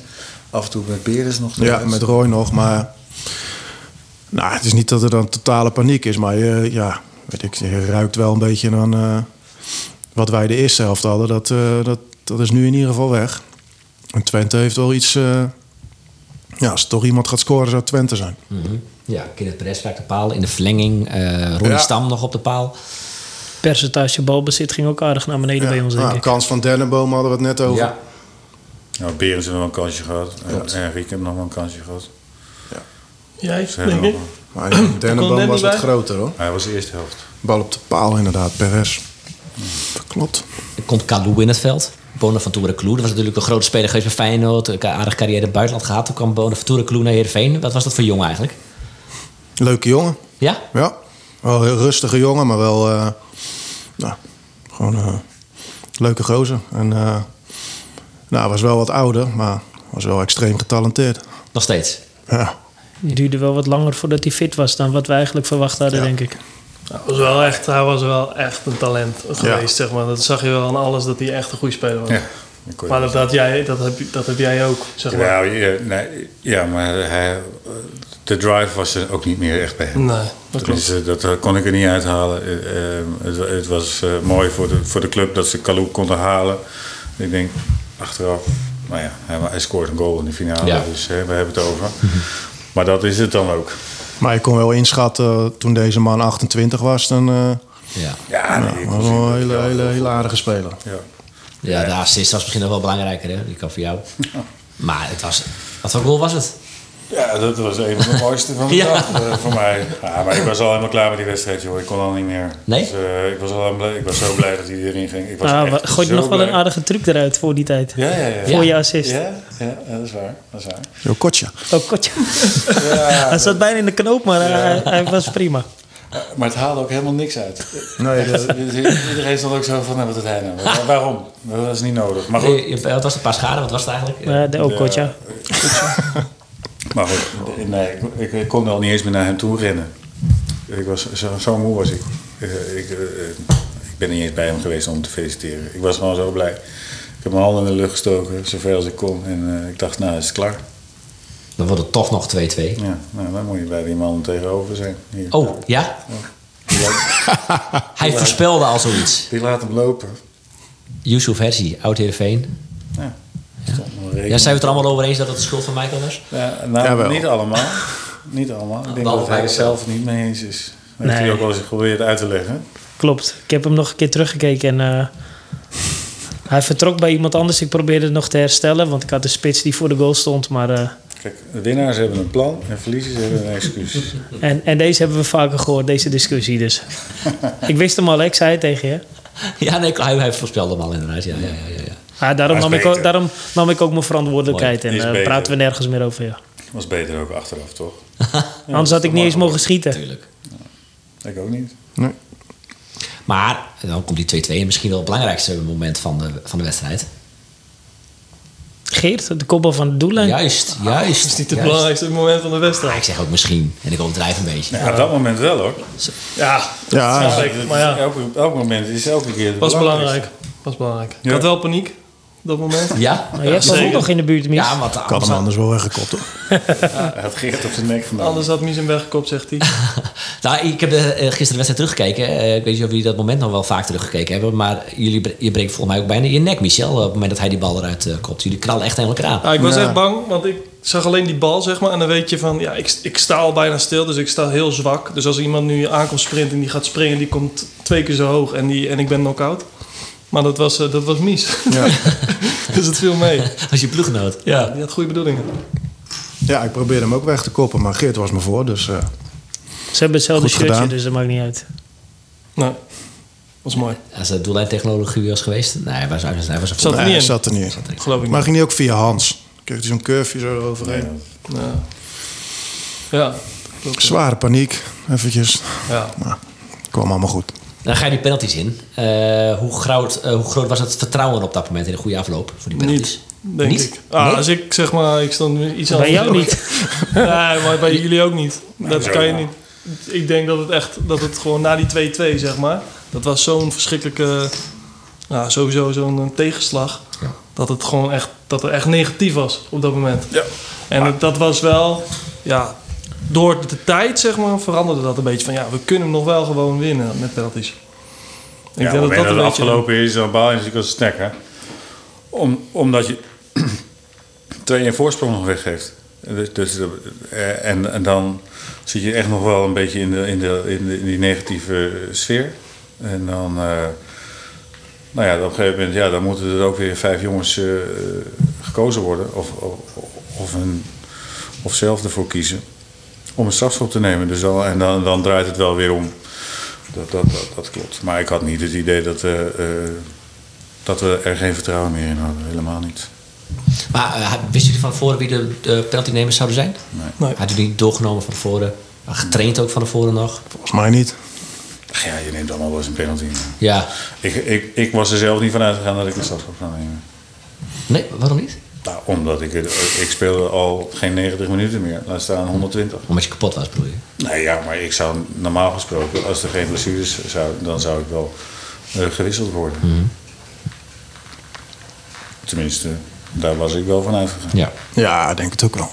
Af en toe met Beres nog. ja, met Roy nog, maar... Nou, het is niet dat er dan totale paniek is, maar je, ja, weet ik, je ruikt wel een beetje aan eh, wat wij de eerste helft hadden. Dat, eh, dat, dat is nu in ieder geval weg. En Twente heeft wel iets... eh, ja, als toch iemand gaat scoren, zou het Twente zijn. Mhm. Ja, Kenneth Perez raakt de paal in de verlenging. eh Ronnie Ja. Stam nog op de paal. Percentage balbezit ging ook aardig naar beneden bij ons, Ja, denk nou, ik. kans van Dennenboom hadden we het net over. Ja. Nou, Berens heeft nog wel een kansje gehad. En, en Riek heeft nog wel een kansje gehad. Jij, Ze hebben denk ik. nog- Maar ik denk, net Dennenboom niet was wat bij. groter, hoor. Hij was de eerste helft. Bal op de paal, inderdaad, Perez. Klopt. Er komt Kalou in het veld. Bonaventura Kloe, dat was natuurlijk een grote speler geweest bij Feyenoord. Een aardige carrière in het buitenland gehad. Toen kwam Bonaventura Kloe naar Heerenveen. Wat was dat voor jong eigenlijk? Leuke jongen. Ja? Ja. Wel een heel rustige jongen, maar wel... eh, nou, gewoon eh leuke gozer. En, eh, nou, was wel wat ouder, maar was wel extreem getalenteerd. Nog steeds. Ja. Het duurde wel wat langer voordat hij fit was dan wat we eigenlijk verwacht hadden, denk ik. Hij was, wel echt, hij was wel echt een talent geweest, zeg maar. Dat zag je wel aan alles, dat hij echt een goede speler was. Ja, dat kon je maar dat, had jij, dat, heb, dat heb jij ook, zeg maar. Ja, Nou, ja, nee, ja, maar eh, hij, de drive was er ook niet meer echt bij hem. Nee, dat klopt. Tenminste, dat eh, kon ik er niet uithalen. Eh, eh, het, wa- het was eh, mooi voor de, voor de club dat ze Kalou konden halen. Ik denk achteraf, nou ja, hij, hij scoort een goal in de finale, Ja. dus hè, we hebben het over. maar dat is het dan ook. Maar ik kon wel inschatten, eh, toen deze man 28 was, dan... eh Ja. Ja, nee, ik was was- wel een hele, hele, hele aardige speler. ja. Ja, de assist was misschien nog wel belangrijker, hè? Die kan voor jou. Maar het was... Wat voor goal was het? Ja, dat was een van de mooiste van de Ja. dag eh, voor mij. Ja, maar ik was al helemaal klaar met die wedstrijd, joh. Ik kon al niet meer. Nee? Dus, eh, ik, was al helemaal blij- ik was zo blij dat hij erin ging. Ik was Ah, echt we- gooit zo nog wel blij. een aardige truc eruit voor die tijd. Ja, ja, ja. Voor je assist. Ja, ja, ja, dat is waar. Dat is waar. Zo kotje. Oh, kotje. hij zat bijna in de knoop, maar hij, hij was prima. Maar het haalde ook helemaal niks uit. Nee, dat- Iedereen stond ook zo van, nou, wat het hij nou? Waar- Waarom? Dat is niet nodig. Maar goed, Eh, je- Wat was het? Een paar schade? Wat was het eigenlijk? Maar de, oh, kotje. maar goed nee, ik, ik, ik kon al niet eens meer naar hem toe rennen. Ik was, zo, zo moe was ik. Eh, Ik, eh, ik ben niet eens bij hem geweest om te feliciteren. Ik was gewoon zo blij. Ik heb mijn handen in de lucht gestoken, zover als ik kon. En eh, ik dacht, nou, is het klaar. Eh, Dan wordt het toch nog 2-2. Ja, nou, dan moet je bij die man tegenover zijn. Hier. Oh, ja? Die, laat, Hij voorspelde al zoiets. die laat hem lopen. Yusuf Hersi, oud Heerenveen. Ja, stond nog rekening. Ja, zijn we het er allemaal over eens dat het de schuld van Michael was? Ja, nou, Jawel. niet allemaal. Niet allemaal. Ik denk Behalve dat hij hij er wel. zelf niet mee eens is. Dat heeft Nee. hij ook wel eens geprobeerd uit te leggen. Klopt. Ik heb hem nog een keer teruggekeken en eh, hij vertrok bij iemand anders. Ik probeerde het nog te herstellen, want ik had de spits die voor de goal stond. Maar, eh, Kijk, winnaars hebben een plan en verliezers hebben een excuus. en, en deze hebben we vaker gehoord, deze discussie dus. ik wist hem al, hè? ik zei het tegen je. Ja, nee, hij, hij voorspelde hem al inderdaad. Ja, ja, ja, ja, ja. Ah, daarom, Hij is nam ik ook, beter. daarom nam ik ook mijn verantwoordelijkheid Mooi. Is en eh beter. praten we nergens meer over. Ja. Was beter ook achteraf, toch? Anders had ik niet eens mogen schieten. Tuurlijk. Ik ook niet. nee. Maar dan komt die 2-2 en misschien wel het belangrijkste moment van de, van de wedstrijd. Geert, de kopbal van Oh, de doellijn. Juist, juist. Ah, Dat is niet het belangrijkste moment van de Maar wedstrijd. ik zeg ook misschien. En ik overdrijf een beetje. Ja, op dat moment wel hoor. Ja, Ja, ja, Dat is maar ja, Elk, elk moment is elke keer. het was belangrijkste. belangrijk. Was belangrijk. Ik Ja. had wel paniek op dat moment. Ja? Maar jij was ook nog in de buurt, Mies. Ja, want ik had anders, hem anders wel weggekopt. hoor. Hij had Geert op zijn nek genomen. Anders had Mies hem weggekopt, zegt hij. Nou, ik heb eh, eh, gisteren de wedstrijd teruggekeken. Eh, Ik weet niet of jullie dat moment nog wel vaak teruggekeken hebben. Maar jullie, bre- je breekt volgens mij ook bijna je nek, Michel. Op het moment dat hij die bal eruit eh, kopt. Jullie knallen echt helemaal elkaar aan. Ja, ik was Ja. echt bang, want ik zag alleen die bal, zeg maar. En dan weet je van, ja, ik, ik sta al bijna stil, dus ik sta heel zwak. Dus als iemand nu aankomt sprinten en die gaat springen, die komt twee keer zo hoog en, die, en ik ben knock-out. Maar dat was, eh, dat was mis. dus het viel mee. Als je ploeggenoot. Ja, die had goede bedoelingen. Ja, ik probeerde hem ook weg te koppen, maar Geert was me voor. Dus eh, Ze hebben hetzelfde Goed shirtje, gedaan. dus dat maakt niet uit. Nou, was mooi. Als eh, het doellijntechnologie was geweest. Nee, hij was, hij was, hij was een Zat er nee, niet hij in, zat er niet in. geloof ik Maar niet. ging hij ook via Hans? Kreeg hij zo'n curveje zo overheen? Ja. Ja, klopt. Zware paniek, eventjes. Ja. Maar kwam allemaal goed. Dan ga je die penalties in. Eh, hoe, groot, eh, hoe groot was het vertrouwen op dat moment in een goede afloop voor die penalties? Niet, denk Niet? ik. Ah, Nee? Als ik zeg maar, ik stond iets Bij anders. jou in. niet. Nee, maar bij jullie ook niet. Dat zo kan je nou. niet. Ik denk dat het echt, dat het gewoon na die 2-2, zeg maar. Dat was zo'n verschrikkelijke, nou, sowieso zo'n eh, tegenslag. Dat het gewoon echt, dat het echt negatief was op dat moment. Ja. En het- dat was wel, ja, door de tijd, zeg maar, veranderde dat een beetje. Van ja, we kunnen hem nog wel gewoon winnen met penalties. Ik ja, denk dat dat een het beetje... afgelopen is, dan baal je natuurlijk als snack. Hè? Om, omdat je twee in voorsprong nog weggeeft. Dus, dus, eh, en, en dan zit je echt nog wel een beetje in, de, in, de, in, de- in die negatieve sfeer. En dan, eh, nou ja, op een gegeven moment, ja, dan moeten er ook weer vijf jongens eh, gekozen worden. Of, of, of, een, of zelf ervoor kiezen om een strafschop te nemen. Dus dan, en dan, dan draait het wel weer om. Dat, dat, dat, dat klopt. Maar ik had niet het idee dat, eh, eh, dat we er geen vertrouwen meer in hadden. Helemaal niet. Maar eh, wist jullie van tevoren wie de, de penaltynemers zouden zijn? Nee. Had u niet doorgenomen van tevoren? Ah, Getraind ook van tevoren nog? Volgens mij niet. Ach ja, je neemt allemaal wel eens een penalty. Ja. Ik, ik, ik was er zelf niet van uitgegaan dat ik een strafschop zou nemen. Nee, waarom niet? Nou, omdat ik, het- ik speelde al geen 90 minuten meer. Laat staan 120. Omdat je kapot was, bedoel je? Nou ja, maar ik zou normaal gesproken, als er geen blessures zouden, dan zou ik wel eh, gewisseld worden. Tenminste, daar was ik wel van uitgegaan. Ja. Ja, ik denk het ook wel.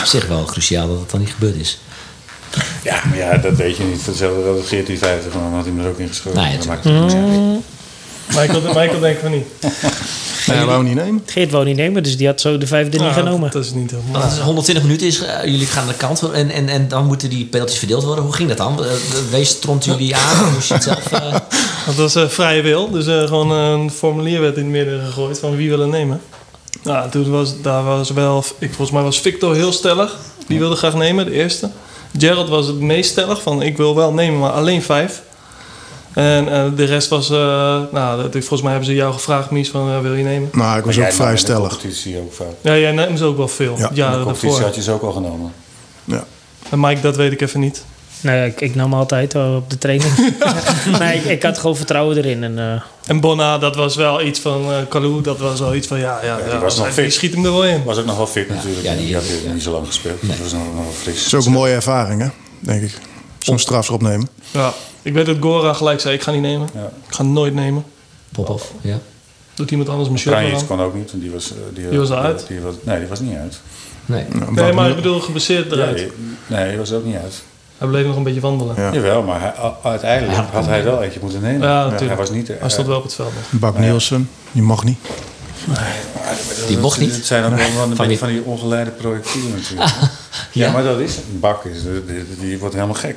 Op zich wel cruciaal dat het dan niet gebeurd is. Ja, maar ja, dat weet je niet. Hetzelfde dat het 1450 dan had hij me er ook in geschoten. Nee, dat natuurlijk. maakt het niet uit. Michael, Michael denkt van niet. Hij wou niet nemen. Geert wou niet nemen, dus die had zo de vijfde niet Nou, genomen. Ah. Dat is niet helemaal. Als het 120 minuten is, eh, jullie gaan aan de kant en, en, en dan moeten die penalties verdeeld worden. Hoe ging dat dan? Eh, de- Wees tront jullie aan? of Moest je het zelf... eh, Dat was eh, vrije wil, dus eh, gewoon een formulier werd in het midden gegooid van wie wil het nemen. Nou, toen was, daar was wel, ik, volgens mij was Victor heel stellig, die wilde graag nemen, de eerste. Gerald was het meest stellig van ik wil wel nemen, maar alleen vijf. En eh, de rest was, eh, nou, dat, volgens mij hebben ze jou gevraagd, Mies, van eh, wil je nemen? Nou, ik Maar was jij ook nam in vrij de stellig. competitie ook fout. Ja, jij neemt ze ook wel veel, Ja, ja, in In de jaren competitie daarvoor. had je ze ook al genomen. Ja. En Mike, dat weet ik even niet. Nou ja, ik, ik nam altijd wel op de training. nee, ik, ik had gewoon vertrouwen erin. En, eh, En Bonna, dat was wel iets van, eh Kalou, dat was wel iets van, ja, ja, ja, die was nog hij- die fit. schiet hem er wel in. Was ook nog wel fit natuurlijk. ja, Ja, die- die, had weer niet zo lang gespeeld. Dat was nog, nog wel fris. Het is ook een mooie ervaring, hè? Denk ik. Zo'n strafschop nemen. Ja, ik weet dat Gora gelijk zei, ik ga niet nemen. Ja. Ik ga nooit nemen. Popov, ja. Doet iemand anders mijn shirt maar Kranjic aan. kon ook niet, want die was... eh, Die, Die was die- uit? die was- nee, die was niet uit. Nee. Nou, Nee, maar ik bedoel gebaseerd Ja, eruit. die- nee, die was ook niet uit. Hij bleef nog een beetje wandelen. Ja. Jawel, maar hij- u- uiteindelijk had hij wel eentje moeten nemen. Ja, hij natuurlijk. was niet... eh, Hij stond wel op het veld nog. Bak Nielsen, die mag niet. Die mocht niet. Het zijn ook wel een die- beetje van die ongeleide projectielen natuurlijk. ja. maar dat is een bak. Is, die, die- die wordt helemaal gek.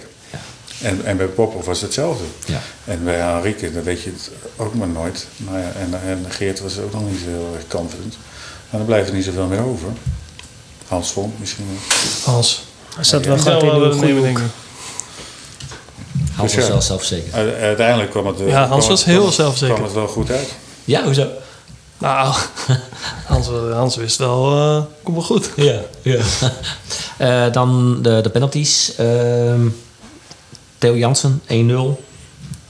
En, en bij Popov was hetzelfde. Ja. En bij Henrike, dat weet je het ook maar nooit. Nou ja, en, en Geert was ook nog niet zo heel erg confident. En dan blijft er niet zoveel meer over. Hans Vond misschien wel. Hans. hij zat wel Ik zou goed in wel de willen nemen, goede denk ik. Hans Dus was ja. wel zelfverzekerd. Uite- Uiteindelijk kwam het... eh, Ja, Hans kwam het- was heel kwam het- zelfzeker. kwam het wel goed uit. Ja, hoezo? Nou, Hans, Hans wist wel, eh kom wel goed. Ja, ja. Eh, dan de, de penalties. Ehm, Theo Jansen, 1-0.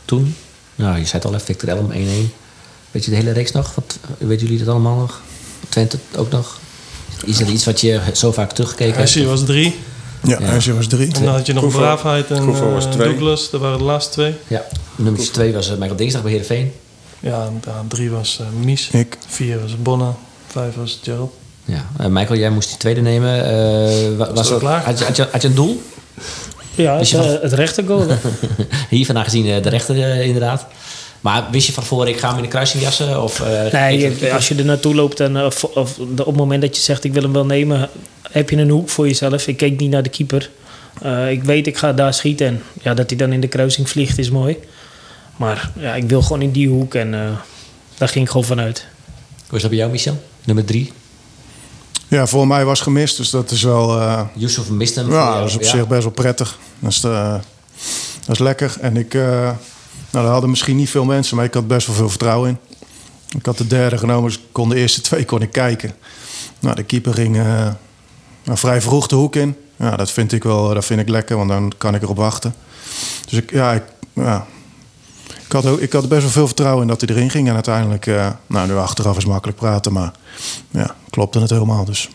Toen. Nou, je zei het al, hè, Victor Elm, 1-1. Weet je de hele reeks nog? Wat, weten jullie dat allemaal nog? Twente ook nog? Is dat iets wat je zo vaak teruggekeken hebt? Hessie was drie. Ja, hij is was drie. En dan had je nog Koevo- Braafheid en Koevo was eh, twee. Douglas. Dat waren de laatste twee. Ja. Nummer 2 was eh, Michael Dinsdag bij Heerenveen. Ja, en, ja, drie was eh, Mies. Ik. Vier was Bonna. Vijf was Gerald. Ja. Eh, Michael, jij moest die tweede nemen. Eh, wa- was dat klaar? Had je, had, je, had je een doel? Ja, het, Dus je eh, mag- het rechter goal. hè. Hier vandaag gezien eh, de rechter eh, inderdaad. Maar wist je van tevoren, ik ga hem in de kruising jassen? Of, eh, Nee, geef je- als je er naartoe loopt en eh, of, of de- op het moment dat je zegt ik wil hem wel nemen, heb je een hoek voor jezelf. Ik keek niet naar de keeper. Eh, ik weet, ik ga daar schieten. En ja, dat hij dan in de kruising vliegt is mooi. Maar ja, ik wil gewoon in die hoek en eh, daar ging ik gewoon vanuit. Hoe is dat bij jou, Michel? Nummer drie. Ja, voor mij was gemist, dus dat is wel... eh, Yusuf mist hem. Ja, dat is op zich best wel prettig. Dat is, eh, dat is lekker. En ik, eh nou, daar hadden misschien niet veel mensen, maar ik had best wel veel vertrouwen in. Ik had de derde genomen, dus ik kon de eerste twee kon ik kijken. Nou, de keeper ging eh, nou, vrij vroeg de hoek in. Ja, dat vind ik wel eh, dat vind ik lekker, want dan kan ik erop wachten. Dus ik, ja, ik, ja. Ik, had ook, ik had best wel veel vertrouwen in dat hij erin ging. En uiteindelijk, eh, nou, nu achteraf is makkelijk praten, maar ja, klopte het helemaal. Dus.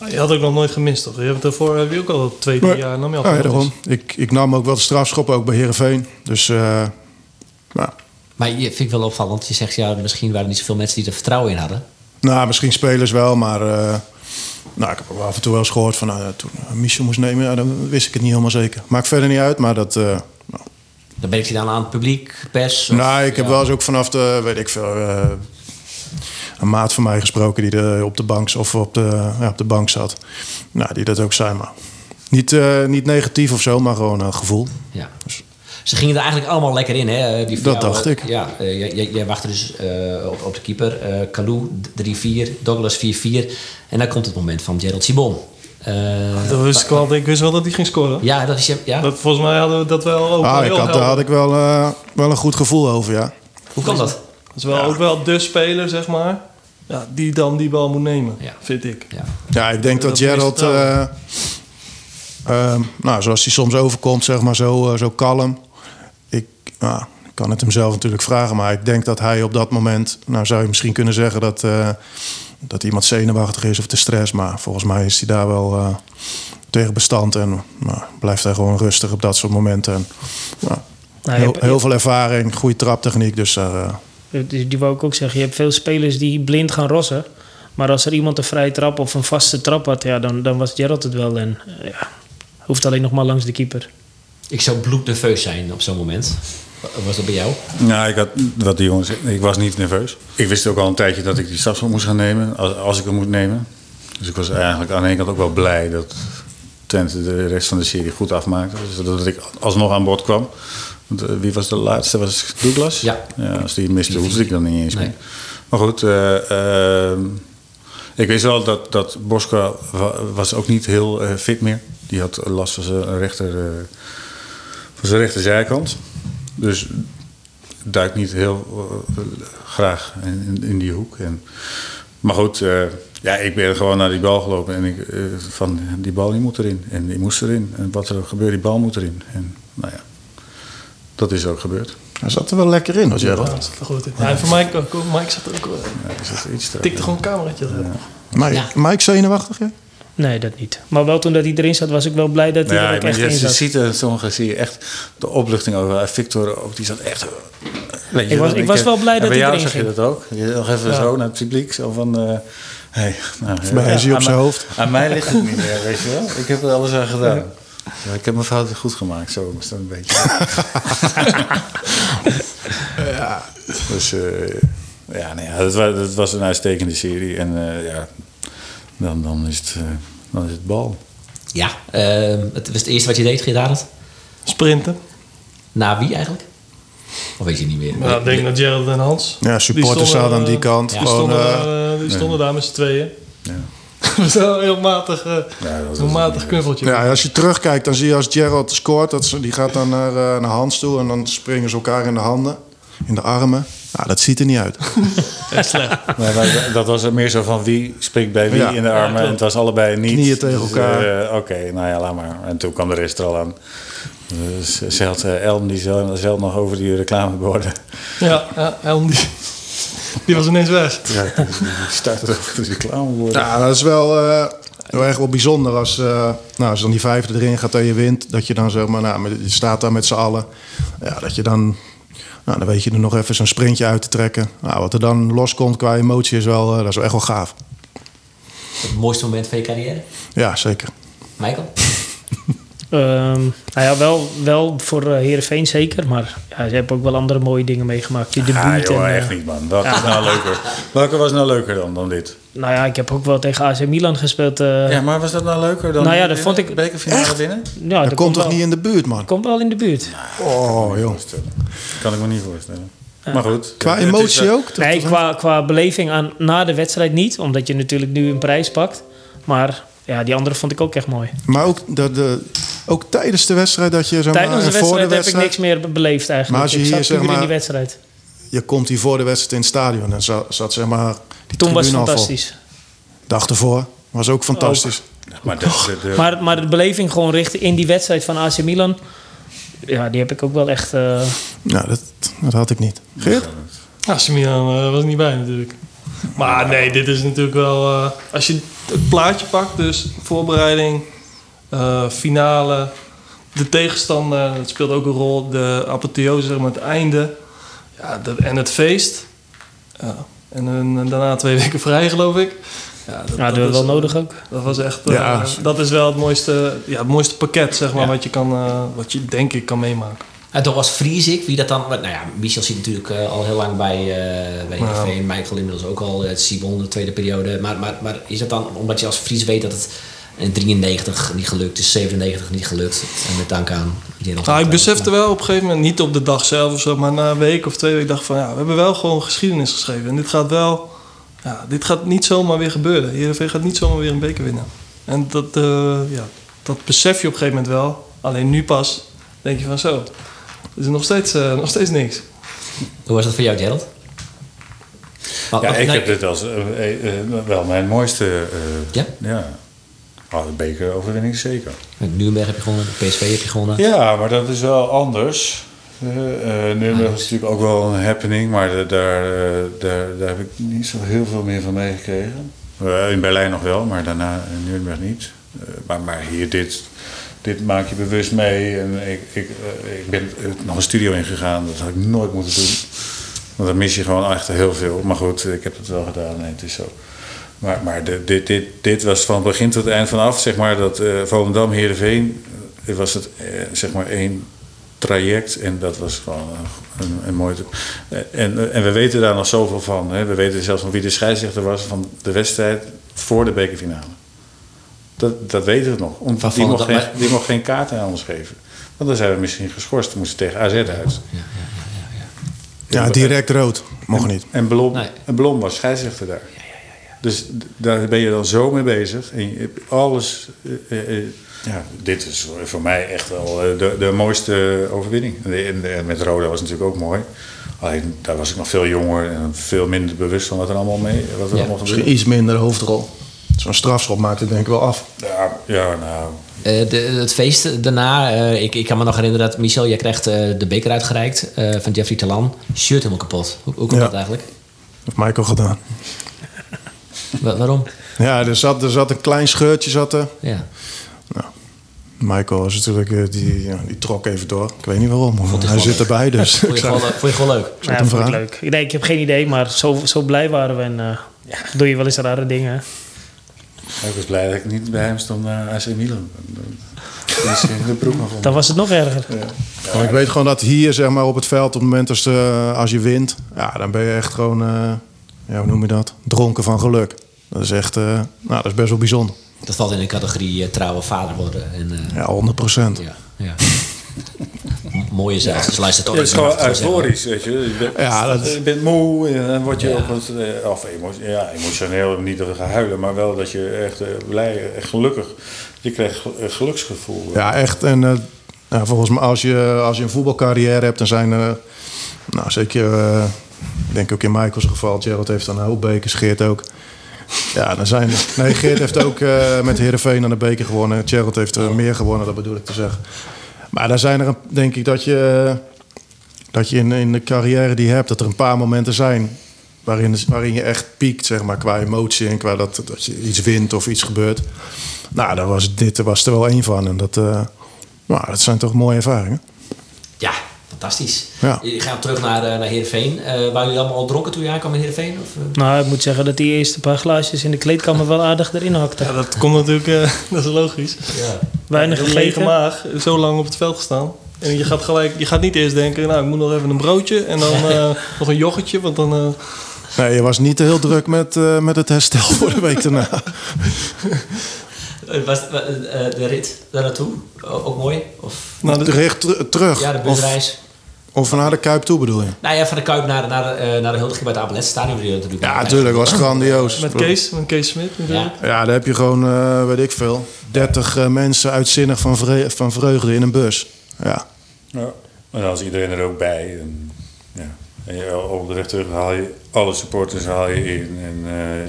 Ah, Je had ook nog nooit gemist, toch? Je hebt daarvoor heb je ook al twee, drie Nee. jaar nam je al Ah, Ja, ja, penalties. daarom. Ah, Ik, ik nam ook wel de strafschop, ook bij Herenveen. Dus eh, nou, Maar je vind ik wel opvallend. Je zegt, ja, misschien waren er niet zoveel mensen die er vertrouwen in hadden. nou, misschien spelers wel, maar eh, nou, ik heb ook wel af en toe wel eens gehoord van nou, ja, toen Michel moest nemen, ja, dan wist ik het niet helemaal zeker. Maakt verder niet uit, maar dat. eh, nou, Dan ben ik die dan aan het publiek, pers. of- nou, ik heb ja. wel eens ook vanaf de, weet ik veel, eh, een maat van mij gesproken die er op de bank, of op de, ja, op de bank zat. Nou, die dat ook zei, maar niet, eh, niet negatief of zo, maar gewoon een gevoel. Ja. Ze gingen er eigenlijk allemaal lekker in, hè? Die Dat dacht ik. Ja, eh, jij- jij, jij wachtte dus eh, op, op de keeper. eh Kalou 3-4, Douglas 4-4. En dan komt het moment van Gerald Sibon. Eh, Dat wist ik, wel, ik wist wel dat hij ging scoren. ja, dat is... je- Ja? Dat, volgens mij hadden we dat wel ook wel Ah, ik heel had, daar helder. had ik wel, eh, wel een goed gevoel over, ja. Hoe kan dat? Dat is wel, ook wel de speler, zeg maar, ja, die dan die bal moet nemen, Ja. vind ik. Ja. Ja, ik denk Dat dat, is Gerald, vertrouwen. eh, ehm, nou, zoals hij soms overkomt, zeg maar zo, eh, zo kalm. Ik nou, ik kan het hem zelf natuurlijk vragen, maar ik denk dat hij op dat moment, nou zou je misschien kunnen zeggen dat, eh, dat iemand zenuwachtig is of te stress, maar volgens mij is hij daar wel eh, tegen bestand en nou, blijft hij gewoon rustig op dat soort momenten. En, nou, Nou, je heel, hebt- heel veel ervaring, goede traptechniek, dus daar. eh, dus Die, die wou ik ook zeggen. Je hebt veel spelers die blind gaan rossen. Maar als er iemand een vrije trap of een vaste trap had, ja, dan, dan was Gerald het wel. En eh, ja, hoeft alleen nog maar langs de keeper. Ik zou bloednerveus zijn op zo'n moment. Wat was dat bij jou? Nou, ik had wat die jongens. Ik was niet nerveus. Ik wist ook al een tijdje dat ik die stapsel moest gaan nemen. Als, als ik hem moet nemen. Dus ik was eigenlijk aan de ene kant ook wel blij dat Twente de rest van de serie goed afmaakte. Dus dat ik alsnog aan boord kwam. Want, eh, wie was de laatste? Was Douglas? Ja. als die het miste, hoefde ik dan niet eens Nee. meer. Maar goed, eh, ehm, ik wist wel dat, dat Bosca wa- was ook niet heel eh, fit meer. Die had last van zijn rechter... eh, van zijn rechterzijkant. Dus duikt niet heel eh, graag in, in- in die hoek. En, maar goed, eh, ja, ik ben gewoon naar die bal gelopen en ik, eh, van die bal die moet erin en die moest erin. En wat er ook gebeurt, die bal moet erin. En nou ja, dat is ook gebeurd. hij zat er wel lekker in, hoor, Gerald. Dat is wel goed. Ja, en voor Mike, ook, hoor. Mike zat er ook wel. Ja, is het iets te- Tikte gewoon een cameraatje. erop. Mike, Ja. Mike zenuwachtig, ja? Nee, dat niet. Maar wel toen dat hij erin zat, was ik wel blij dat hij Nou er ja, ook echt je, in je zat. ziet er sommigen zie je echt de opluchting over. Eh, Victor ook, die zat echt. eh, Weet je Ik was- dat ik was wel blij en dat bij hij jou erin zag je ging. dat ook. Je nog even zo naar het publiek, zo van. eh, hey, nou, mij ja, is hij op aan zijn mij- hoofd. Aan mij ligt het niet meer, weet je wel. Ik heb er alles aan gedaan. Ja, ik heb mijn fouten goed gemaakt, zo is dat een beetje. Dus eh, ja, nee, ja, dat, was, dat was een uitstekende serie. En eh, ja, dan, dan, is het, eh, dan is het bal. Ja, ehm, het was het eerste wat je deed, Gerard. Sprinten. Na wie eigenlijk? Of weet je het niet meer? Nou, ik denk dat Gerald en Hans. Ja, supporters die stonden, zaten aan die eh, kant. Die Gewoon, stonden, eh, eh, die stonden daar met z'n tweeën. Ja. Dat is wel een heel matig, eh, Ja, dat is- een matig knuffeltje. Ja, als je terugkijkt, dan zie je als Gerald scoort, dat ze, die gaat dan naar, eh, naar Hans toe en dan springen ze elkaar in de handen, in de armen. Nou, dat ziet er niet uit. Maar dat, dat was meer zo van wie spreekt bij wie Ja. in de armen. en het was allebei niet. Knieën tegen elkaar. eh, Oké, nou ja, laat maar. En toen kwam de rest er al aan. Dus ze had eh, Elm die zelf, zelf nog over die reclameborden. Ja, ja Helm die, die was ineens weg. Ja, die startte over de reclameborden. Ja, dat is wel, eh, wel echt wel bijzonder als, eh, nou, als dan die vijfde erin gaat en je wint. Dat je dan zeg maar, nou, met- je staat daar met z'n allen. Ja, dat je dan, nou, dan weet je er nog even zo'n sprintje uit te trekken. Nou, wat er dan loskomt qua emotie is wel, eh, dat is wel echt wel gaaf. Het mooiste moment van je carrière? Ja, zeker. Michael? Ehm, nou ja, wel, wel voor eh, Heerenveen zeker. Maar ja, ze hebben ook wel andere mooie dingen meegemaakt. Je debuut Ah joh, en, eh, echt niet man. Welke was nou leuker? Welke was nou leuker dan, dan dit? Nou ja, ik heb ook wel tegen AC Milan gespeeld. eh, Ja, maar was dat nou leuker dan Nou ja, die dat winnen? vond ik- De bekerfinale winnen? ja, dat, dat komt toch wel, niet in de buurt, man? komt wel in de buurt. Oh, joh. Kan ik me niet voorstellen. Maar goed. Qua het is emotie wel- ook? nee, qua, qua beleving aan, na de wedstrijd niet. Omdat je natuurlijk nu een prijs pakt. Maar ja, die andere vond ik ook echt mooi. Maar ook, dat de, ook tijdens de wedstrijd dat je... Zeg maar, Tijdens de en voor wedstrijd, heb ik niks meer be- beleefd eigenlijk. Maar als je ik hier, zat zeg puur in maar- die wedstrijd. Je komt hier voor de wedstrijd in het stadion en zat, zat zeg maar... Die Toen was het tribune al vol. fantastisch. Oh. Dag ervoor was ook fantastisch. Maar dat, de, de- Maar, maar de beleving gewoon richting in die wedstrijd van AC Milan... Ja, die heb ik ook wel echt... eh, Nou, dat, dat had ik niet. Geert? Ja, Simian eh, was er niet bij natuurlijk. Maar nee, dit is natuurlijk wel... eh, als je het plaatje pakt, dus voorbereiding, eh, finale, de tegenstander, dat speelt ook een rol. De apotheose, zeg maar, het einde. Ja, de- en het feest. Ja, en, een- daarna twee weken vrij, geloof ik. Ja, dat, ja, dat dat we is- wel nodig ook. Dat was echt. eh, Ja. dat is wel het mooiste, ja, het mooiste pakket, zeg maar, wat je kan, eh, wat je denk ik kan meemaken. En toch was Friesik, wie dat dan... Nou ja, Michel zit natuurlijk eh, al heel lang bij, eh bij Heerenveen. Michael inmiddels ook al. eh, Simon, de tweede periode. Maar, maar, maar is dat dan omdat je als Fries weet dat het in 93 niet gelukt is, 97 niet gelukt. En met dank aan... Gerald Nou, ik Hoefkens. besefte wel op een gegeven moment, niet op de dag zelf of zo, maar na een week of twee weken dacht ik van ja, we hebben wel gewoon geschiedenis geschreven. En dit gaat wel, ja, dit gaat niet zomaar weer gebeuren. Heerenveen gaat niet zomaar weer een beker winnen. En dat, eh, ja, dat besef je op een gegeven moment wel. Alleen nu pas denk je van zo, er is nog steeds, eh, nog steeds niks. Hoe was dat voor jou, Gerald? Wat- Ja, wat- ik nee, heb dit als eh, eh, eh, wel mijn mooiste. eh, Ja? ja. Ah, de bekeroverwinning zeker. Nuremberg heb je gewonnen, PSV heb je gewonnen. Ja, maar dat is wel anders. Eh eh, Nürnberg is natuurlijk ook wel een happening, maar da- daar, eh, daar, daar heb ik niet zo heel veel meer van meegekregen. Eh, in Berlijn nog wel, maar daarna in Nürnberg niet. Eh, maar, maar hier, dit, dit maak je bewust mee. En ik, ik, eh, ik ben eh, nog een studio ingegaan, dat had ik nooit moeten doen. Want dan mis je gewoon echt heel veel. Maar goed, ik heb het wel gedaan en het is zo. Maar, maar de- dit, dit, dit was van begin tot eind vanaf, zeg maar, dat eh Volendam, Heerenveen, eh, was het eh, zeg maar één traject en dat was gewoon een, een, een mooi... eh, En, en we weten daar nog zoveel van. Hè. We weten zelfs van wie de scheidsrechter was van de wedstrijd voor de bekerfinale. Dat, dat weten we nog. Om, Van die, mocht Volendam, geen, die mocht geen kaart aan ons geven. Want dan zijn we misschien geschorst. Dan moesten we tegen AZ uit. Ja, direct rood. Mocht niet. En Blom, Nee. en Blom was scheidsrechter daar. Dus d- daar ben je dan zo mee bezig. En je hebt alles. eh, eh, eh, ja, dit is voor mij echt wel eh, de, de mooiste overwinning. En, de- en de- met Roda was het natuurlijk ook mooi. Alleen daar was ik nog veel jonger en veel minder bewust van wat er allemaal mee wat er Ja, allemaal Misschien gebeurde. iets minder hoofdrol. Zo'n strafschop maakt het denk ik wel af. Ja, ja, nou. Eh, de, het feest daarna, eh, ik, ik kan me nog herinneren dat Michel, jij krijgt eh, de beker uitgereikt eh, van Jeffrey Talan. Shirt helemaal kapot. Hoe, hoe komt Ja. dat eigenlijk? Heeft Michael gedaan. Wa- waarom? Ja, er zat, er zat een klein scheurtje. Zat er. Ja. Michael was natuurlijk, eh, die, ja, die trok even door. Ik weet niet waarom. maar het Hij wel zit leuk. erbij dus. Vond Ik je, zag- gewoon, le- vond je gewoon leuk? zat Ja, hem vond ik vragen. leuk. Ik, nee, ik heb geen idee, maar zo, zo blij waren we. En eh, doe je wel eens rare dingen. Ik was blij dat ik niet bij hem stond naar AC Milan. Dat is in de broek nog onder. Dan was het nog erger. Maar ik weet gewoon dat hier zeg maar, op het veld, op het moment als, eh, als je wint, ja, dan ben je echt gewoon, eh, ja, hoe noem je dat? Dronken van geluk. Dat is echt, eh, nou, dat is best wel bijzonder. Dat valt in de categorie eh, trouwe vader worden. En, eh, Ja, 100 procent. ja. Ja. M- Mooie zelfs. Dus luister toch Het is gewoon eens. euforisch, weet je. Je bent, Ja, dat- je bent moe en dan word je Ja. ook wat, eh, of emo- ja, emotioneel, niet dat we gaan huilen, maar wel dat je echt eh, blij en gelukkig, je krijgt gel- eh, geluksgevoel. Ja, echt. En eh, nou, volgens mij, als je, als je een voetbalcarrière hebt, dan zijn er, nou, zeker, eh, ik denk ook in Michaels geval, Gerald heeft dan een hoop bekers, Geert ook. Ja, dan zijn Nee, Geert heeft ook eh met Heerenveen aan de beker gewonnen. Gerald heeft er meer gewonnen, dat bedoel ik te zeggen. Maar daar zijn er, een- denk ik, dat je, eh, dat je in, in de carrière die je hebt, dat er een paar momenten zijn waarin, waarin je echt piekt, zeg maar, qua emotie en qua dat, dat je iets wint of iets gebeurt. Nou, daar was, dit was er wel één van. En dat, eh, nou, dat zijn toch mooie ervaringen. Ja, fantastisch. Ja. Je gaat terug naar, eh, naar Heerenveen. Eh waren jullie allemaal al dronken toen je aankwam in Heerenveen? Of, eh? Nou, ik moet zeggen dat die eerste paar glaasjes in de kleedkamer wel aardig erin hakten. Ja, dat komt natuurlijk, eh, dat is logisch. Weinig Een lege gegeten. maag, zo lang op het veld gestaan. En je gaat, gelijk, je gaat niet eerst denken, nou ik moet nog even een broodje en dan eh, nog een yoghurtje, want dan... eh, Nee, je was niet heel druk met, eh, met het herstel voor de week daarna. Eh, Was, wa- eh, eh, de rit daar naartoe o- ook mooi? Of, nou, dat- Recht ter- terug. ja, de of, busreis. of naar de Kuip toe bedoel je? Nou ja, van de Kuip naar, naar, eh, naar de huldiging bij het Abeletstadion. wil je dat natuurlijk Ja, maken. natuurlijk. was grandioos. met Kees, met Kees Smit natuurlijk. Ja. Ja, daar heb je gewoon, eh, weet ik veel, 30 eh, mensen uitzinnig van, vre- van vreugde in een bus. Ja. Ja. En dan is iedereen er ook bij. En, ja. en je, op de weg terug haal je alle supporters haal je in. En, eh, eh,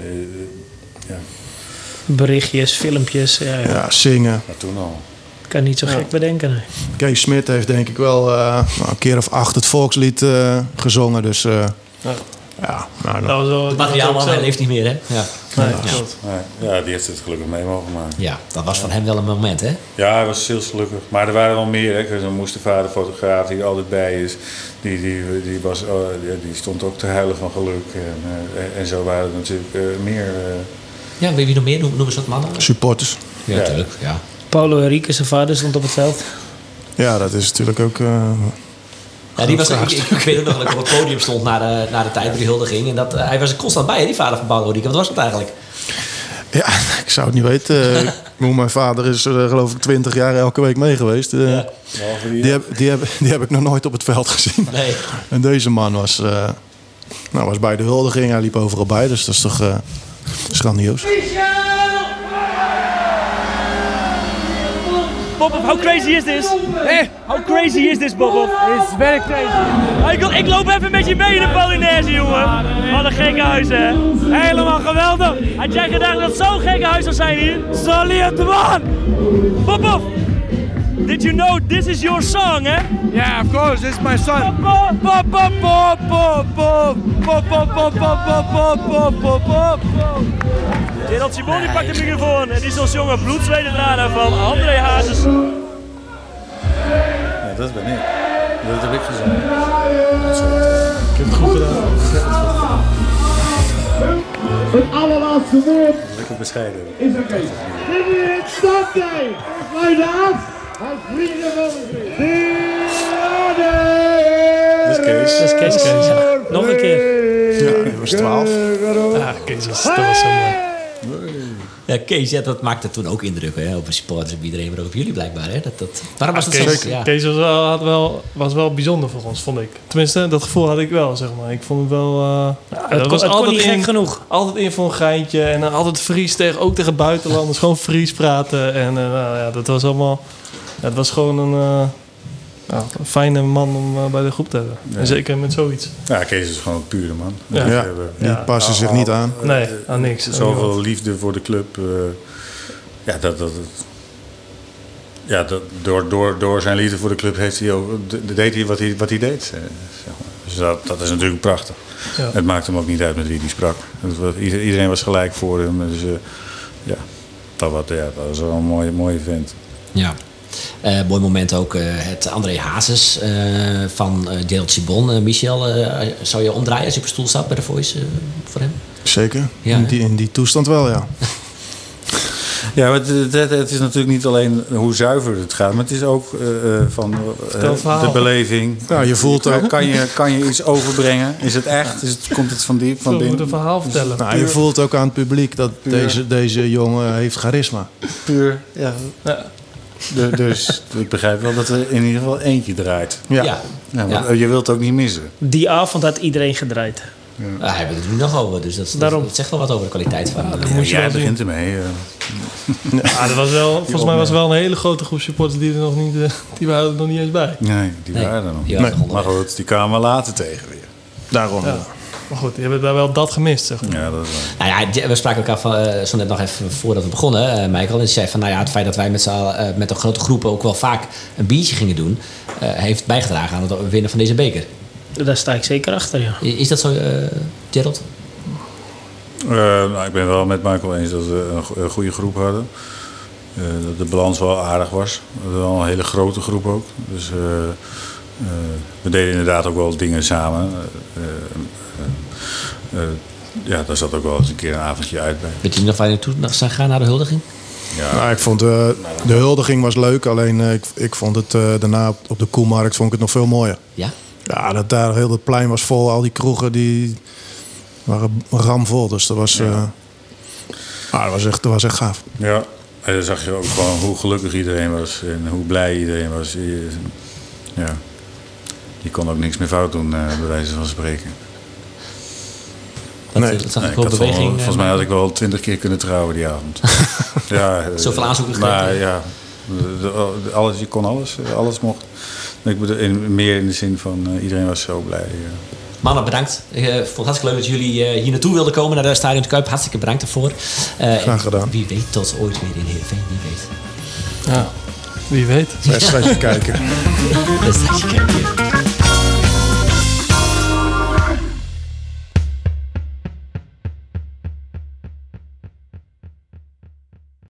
ja, Berichtjes, filmpjes. Ja, ja. ja, zingen. maar toen al. Kan niet zo gek bedenken. nee. Kees Smit heeft denk ik wel eh, nou, een keer of acht het volkslied eh, gezongen. Dus eh, Ja. ja, nou, Dat Het was wel- dat was ook materiaal zo. hij leeft niet meer, hè? Ja. Nee, klopt. Maar, ja, die heeft het gelukkig mee mogen maken. ja, dat was van hem wel een moment, hè? Ja, hij was heel gelukkig. Maar er waren wel meer. Hè. Er moest de vader fotograaf die er altijd bij is. Die, die, die, was, eh, die, die stond ook te huilen van geluk. En, eh, en- en zo waren er natuurlijk eh, meer. eh. Ja, weet je nog meer? Noem- Noemen ze dat mannen? supporters. Ja, Ja. natuurlijk. Ja. Paulo Henrique, zijn vader, stond op het veld. Ja, dat is natuurlijk ook... eh, Ja, die was, ik, ik, ik weet ook nog dat ik op het podium stond na de, na de tijd bij de huldiging. En dat, eh, hij was er constant bij, hè, die vader van Paul Rodriguez. Wat was dat eigenlijk? Ja, ik zou het niet weten. Ik bedoel, mijn vader is er geloof ik twintig jaar elke week mee geweest. Eh, Behalve die, heb, die, heb, die heb ik nog nooit op het veld gezien. Nee. En deze man was, eh, nou, was bij de huldiging. Hij liep overal bij, dus dat is toch eh, schandioos. Michel! Bob, how crazy is this? How crazy is this, Bob? It's very crazy. Ik, ik loop even met je mee in de Polonaise, jongen. Wat een gekke huis, hè? Helemaal geweldig. Had jij gedacht dat het zo'n gekke huis zou zijn hier? Salut, man! Bob, Bob, did you know this is your song, hè? Yeah, of course, this is my son. Gerald Simoni pakt de microfoon en die is ons jonge bloedzwedendrader van André Hazes. Ja, dat ben ik. Dat heb ik gezongen. Het allerlaatste woord Lekker bescheiden. is er geen. Dit is het Sunday. Luidaat. Als vrienden van de Dieren. Dat is Kees. Dat is Kees. Nog een keer. Ja, hij was 12. Ah, Kees, dat was, dat was zo mooi. Ja, Kees, ja, dat maakte toen ook indruk hè, op de supporters, op iedereen, maar ook op jullie blijkbaar. Hè? Dat, dat, waarom was dat Kees, zo? Ja. Kees was, wel, had wel, was wel bijzonder voor ons, vond ik. Tenminste, dat gevoel had ik wel, zeg maar. Ik vond het wel... eh, ja, dat Het kon, was het kon altijd niet in, gek genoeg. Altijd in voor een geintje. En dan altijd Fries tegen, ook tegen buitenlanders. gewoon Fries praten. En eh, nou ja, dat was allemaal... ja, het was gewoon een, eh, nou, een fijne man om eh, bij de groep te hebben. En zeker met zoiets. Ja, Kees is gewoon een pure man. Ja. Die Ja, hebben- die Ja. passen zich Ah, niet aan. eh, Nee, aan niks. Aan niemand. Zoveel liefde voor de club. eh, ja, dat, dat, dat- ja dat, door, door, door zijn liefde voor de club heeft hij ook, de- deed hij wat hij, wat hij deed. eh, zeg maar. Dus dat, dat is natuurlijk prachtig. Ja. Het maakte hem ook niet uit met wie hij sprak. Het was- ieder- iedereen was gelijk voor hem. Dus eh, ja, dat, wat, ja, dat was wel een mooie, mooie vent. Ja. Eh, mooi moment ook eh, het André Hazes eh, van eh Gerald Cibon. Eh, Michel, eh, zou je omdraaien als je op een stoel staat bij de Voice eh, voor hem? Zeker. Ja, in, hè? die, in die toestand wel, ja. Ja, maar het, het- het is natuurlijk niet alleen hoe zuiver het gaat, maar het is ook eh, eh, van eh, het verhaal. de beleving. Ja, je voelt ook- Kan je, eh, kan je iets overbrengen? Is het echt? Is het, komt het van diep, van We moeten een binnen? verhaal vertellen. Nou, je voelt ook aan het publiek dat deze, deze jongen heeft charisma. Puur. Ja. Du- dus ik begrijp wel dat er in ieder geval eentje draait. Ja. Ja, want Ja. Je wilt het ook niet missen. Die avond had iedereen gedraaid. Ah, hij heeft het er nu nog over, dus dat, dat- Daarom. dat zegt wel wat over de kwaliteit van Nou hem. Ja, jij begint ermee. eh. Ah, dat was wel, volgens mij was er wel een hele grote groep supporters die er nog niet, eh, die waren er nog niet eens bij. nee, die Nee, waren er nog. die waren nog maar onderweg. goed, die kwamen later tegen weer. Daarom. Ja. Maar goed, die hebben daar wel dat gemist, zeg maar. Ja, dat is waar. Nou ja, J- we spraken elkaar van, eh, zo net nog even voordat we begonnen, eh, Michael. En die zei van, nou ja, het feit dat wij met, z'n allen, eh, met een grote groep ook wel vaak een biertje gingen doen, eh, heeft bijgedragen aan het winnen van deze beker. Daar sta ik zeker achter, ja. I- Is dat zo, eh, Gerald? Eh, nou, ik ben wel met Michael eens dat we een, go- een goede groep hadden. Eh, dat de balans wel aardig was. We hadden wel een hele grote groep ook. Dus eh, eh, we deden inderdaad ook wel dingen samen. Eh, eh, eh, ja, daar zat ook wel eens een keer een avondje uit bij. Weet je nog waar je naartoe nog zijn gaan naar de huldiging? Ja, Nou, ik vond eh, de huldiging was leuk, alleen eh, ik, ik vond het eh, daarna op- op de koelmarkt vond ik het nog veel mooier. Ja? Ja, dat daar heel het plein was vol, al die kroegen die waren ramvol. Dus dat was, eh ah, dat was, echt, dat was echt gaaf. ja. En dan zag je ook gewoon hoe gelukkig iedereen was en hoe blij iedereen was. Je- Ja. Je kon ook niks meer fout doen, eh, bij wijze van spreken. Dat, Nee, eh, dat zag Nee, ik ik wel had wel- beweging. eh, volgens mij had ik wel twintig keer kunnen trouwen die avond. ja, eh, Zoveel aanzoeken Maar gekregen. ja, de- de- de- alles, je kon alles. eh, Alles mocht. Ik bedoel, in, meer in de zin van eh, iedereen was zo blij. eh. Mannen, bedankt. Ik eh, vond het hartstikke leuk dat jullie eh, hier naartoe wilden komen naar de Stadion de Kuip. Hartstikke bedankt daarvoor. Eh, Graag gedaan. Wie weet tot ooit weer in Heerenveen, wie weet. Ja, wie weet. Wedstrijdje kijken. Dus- Dat is dat je kijkt hier.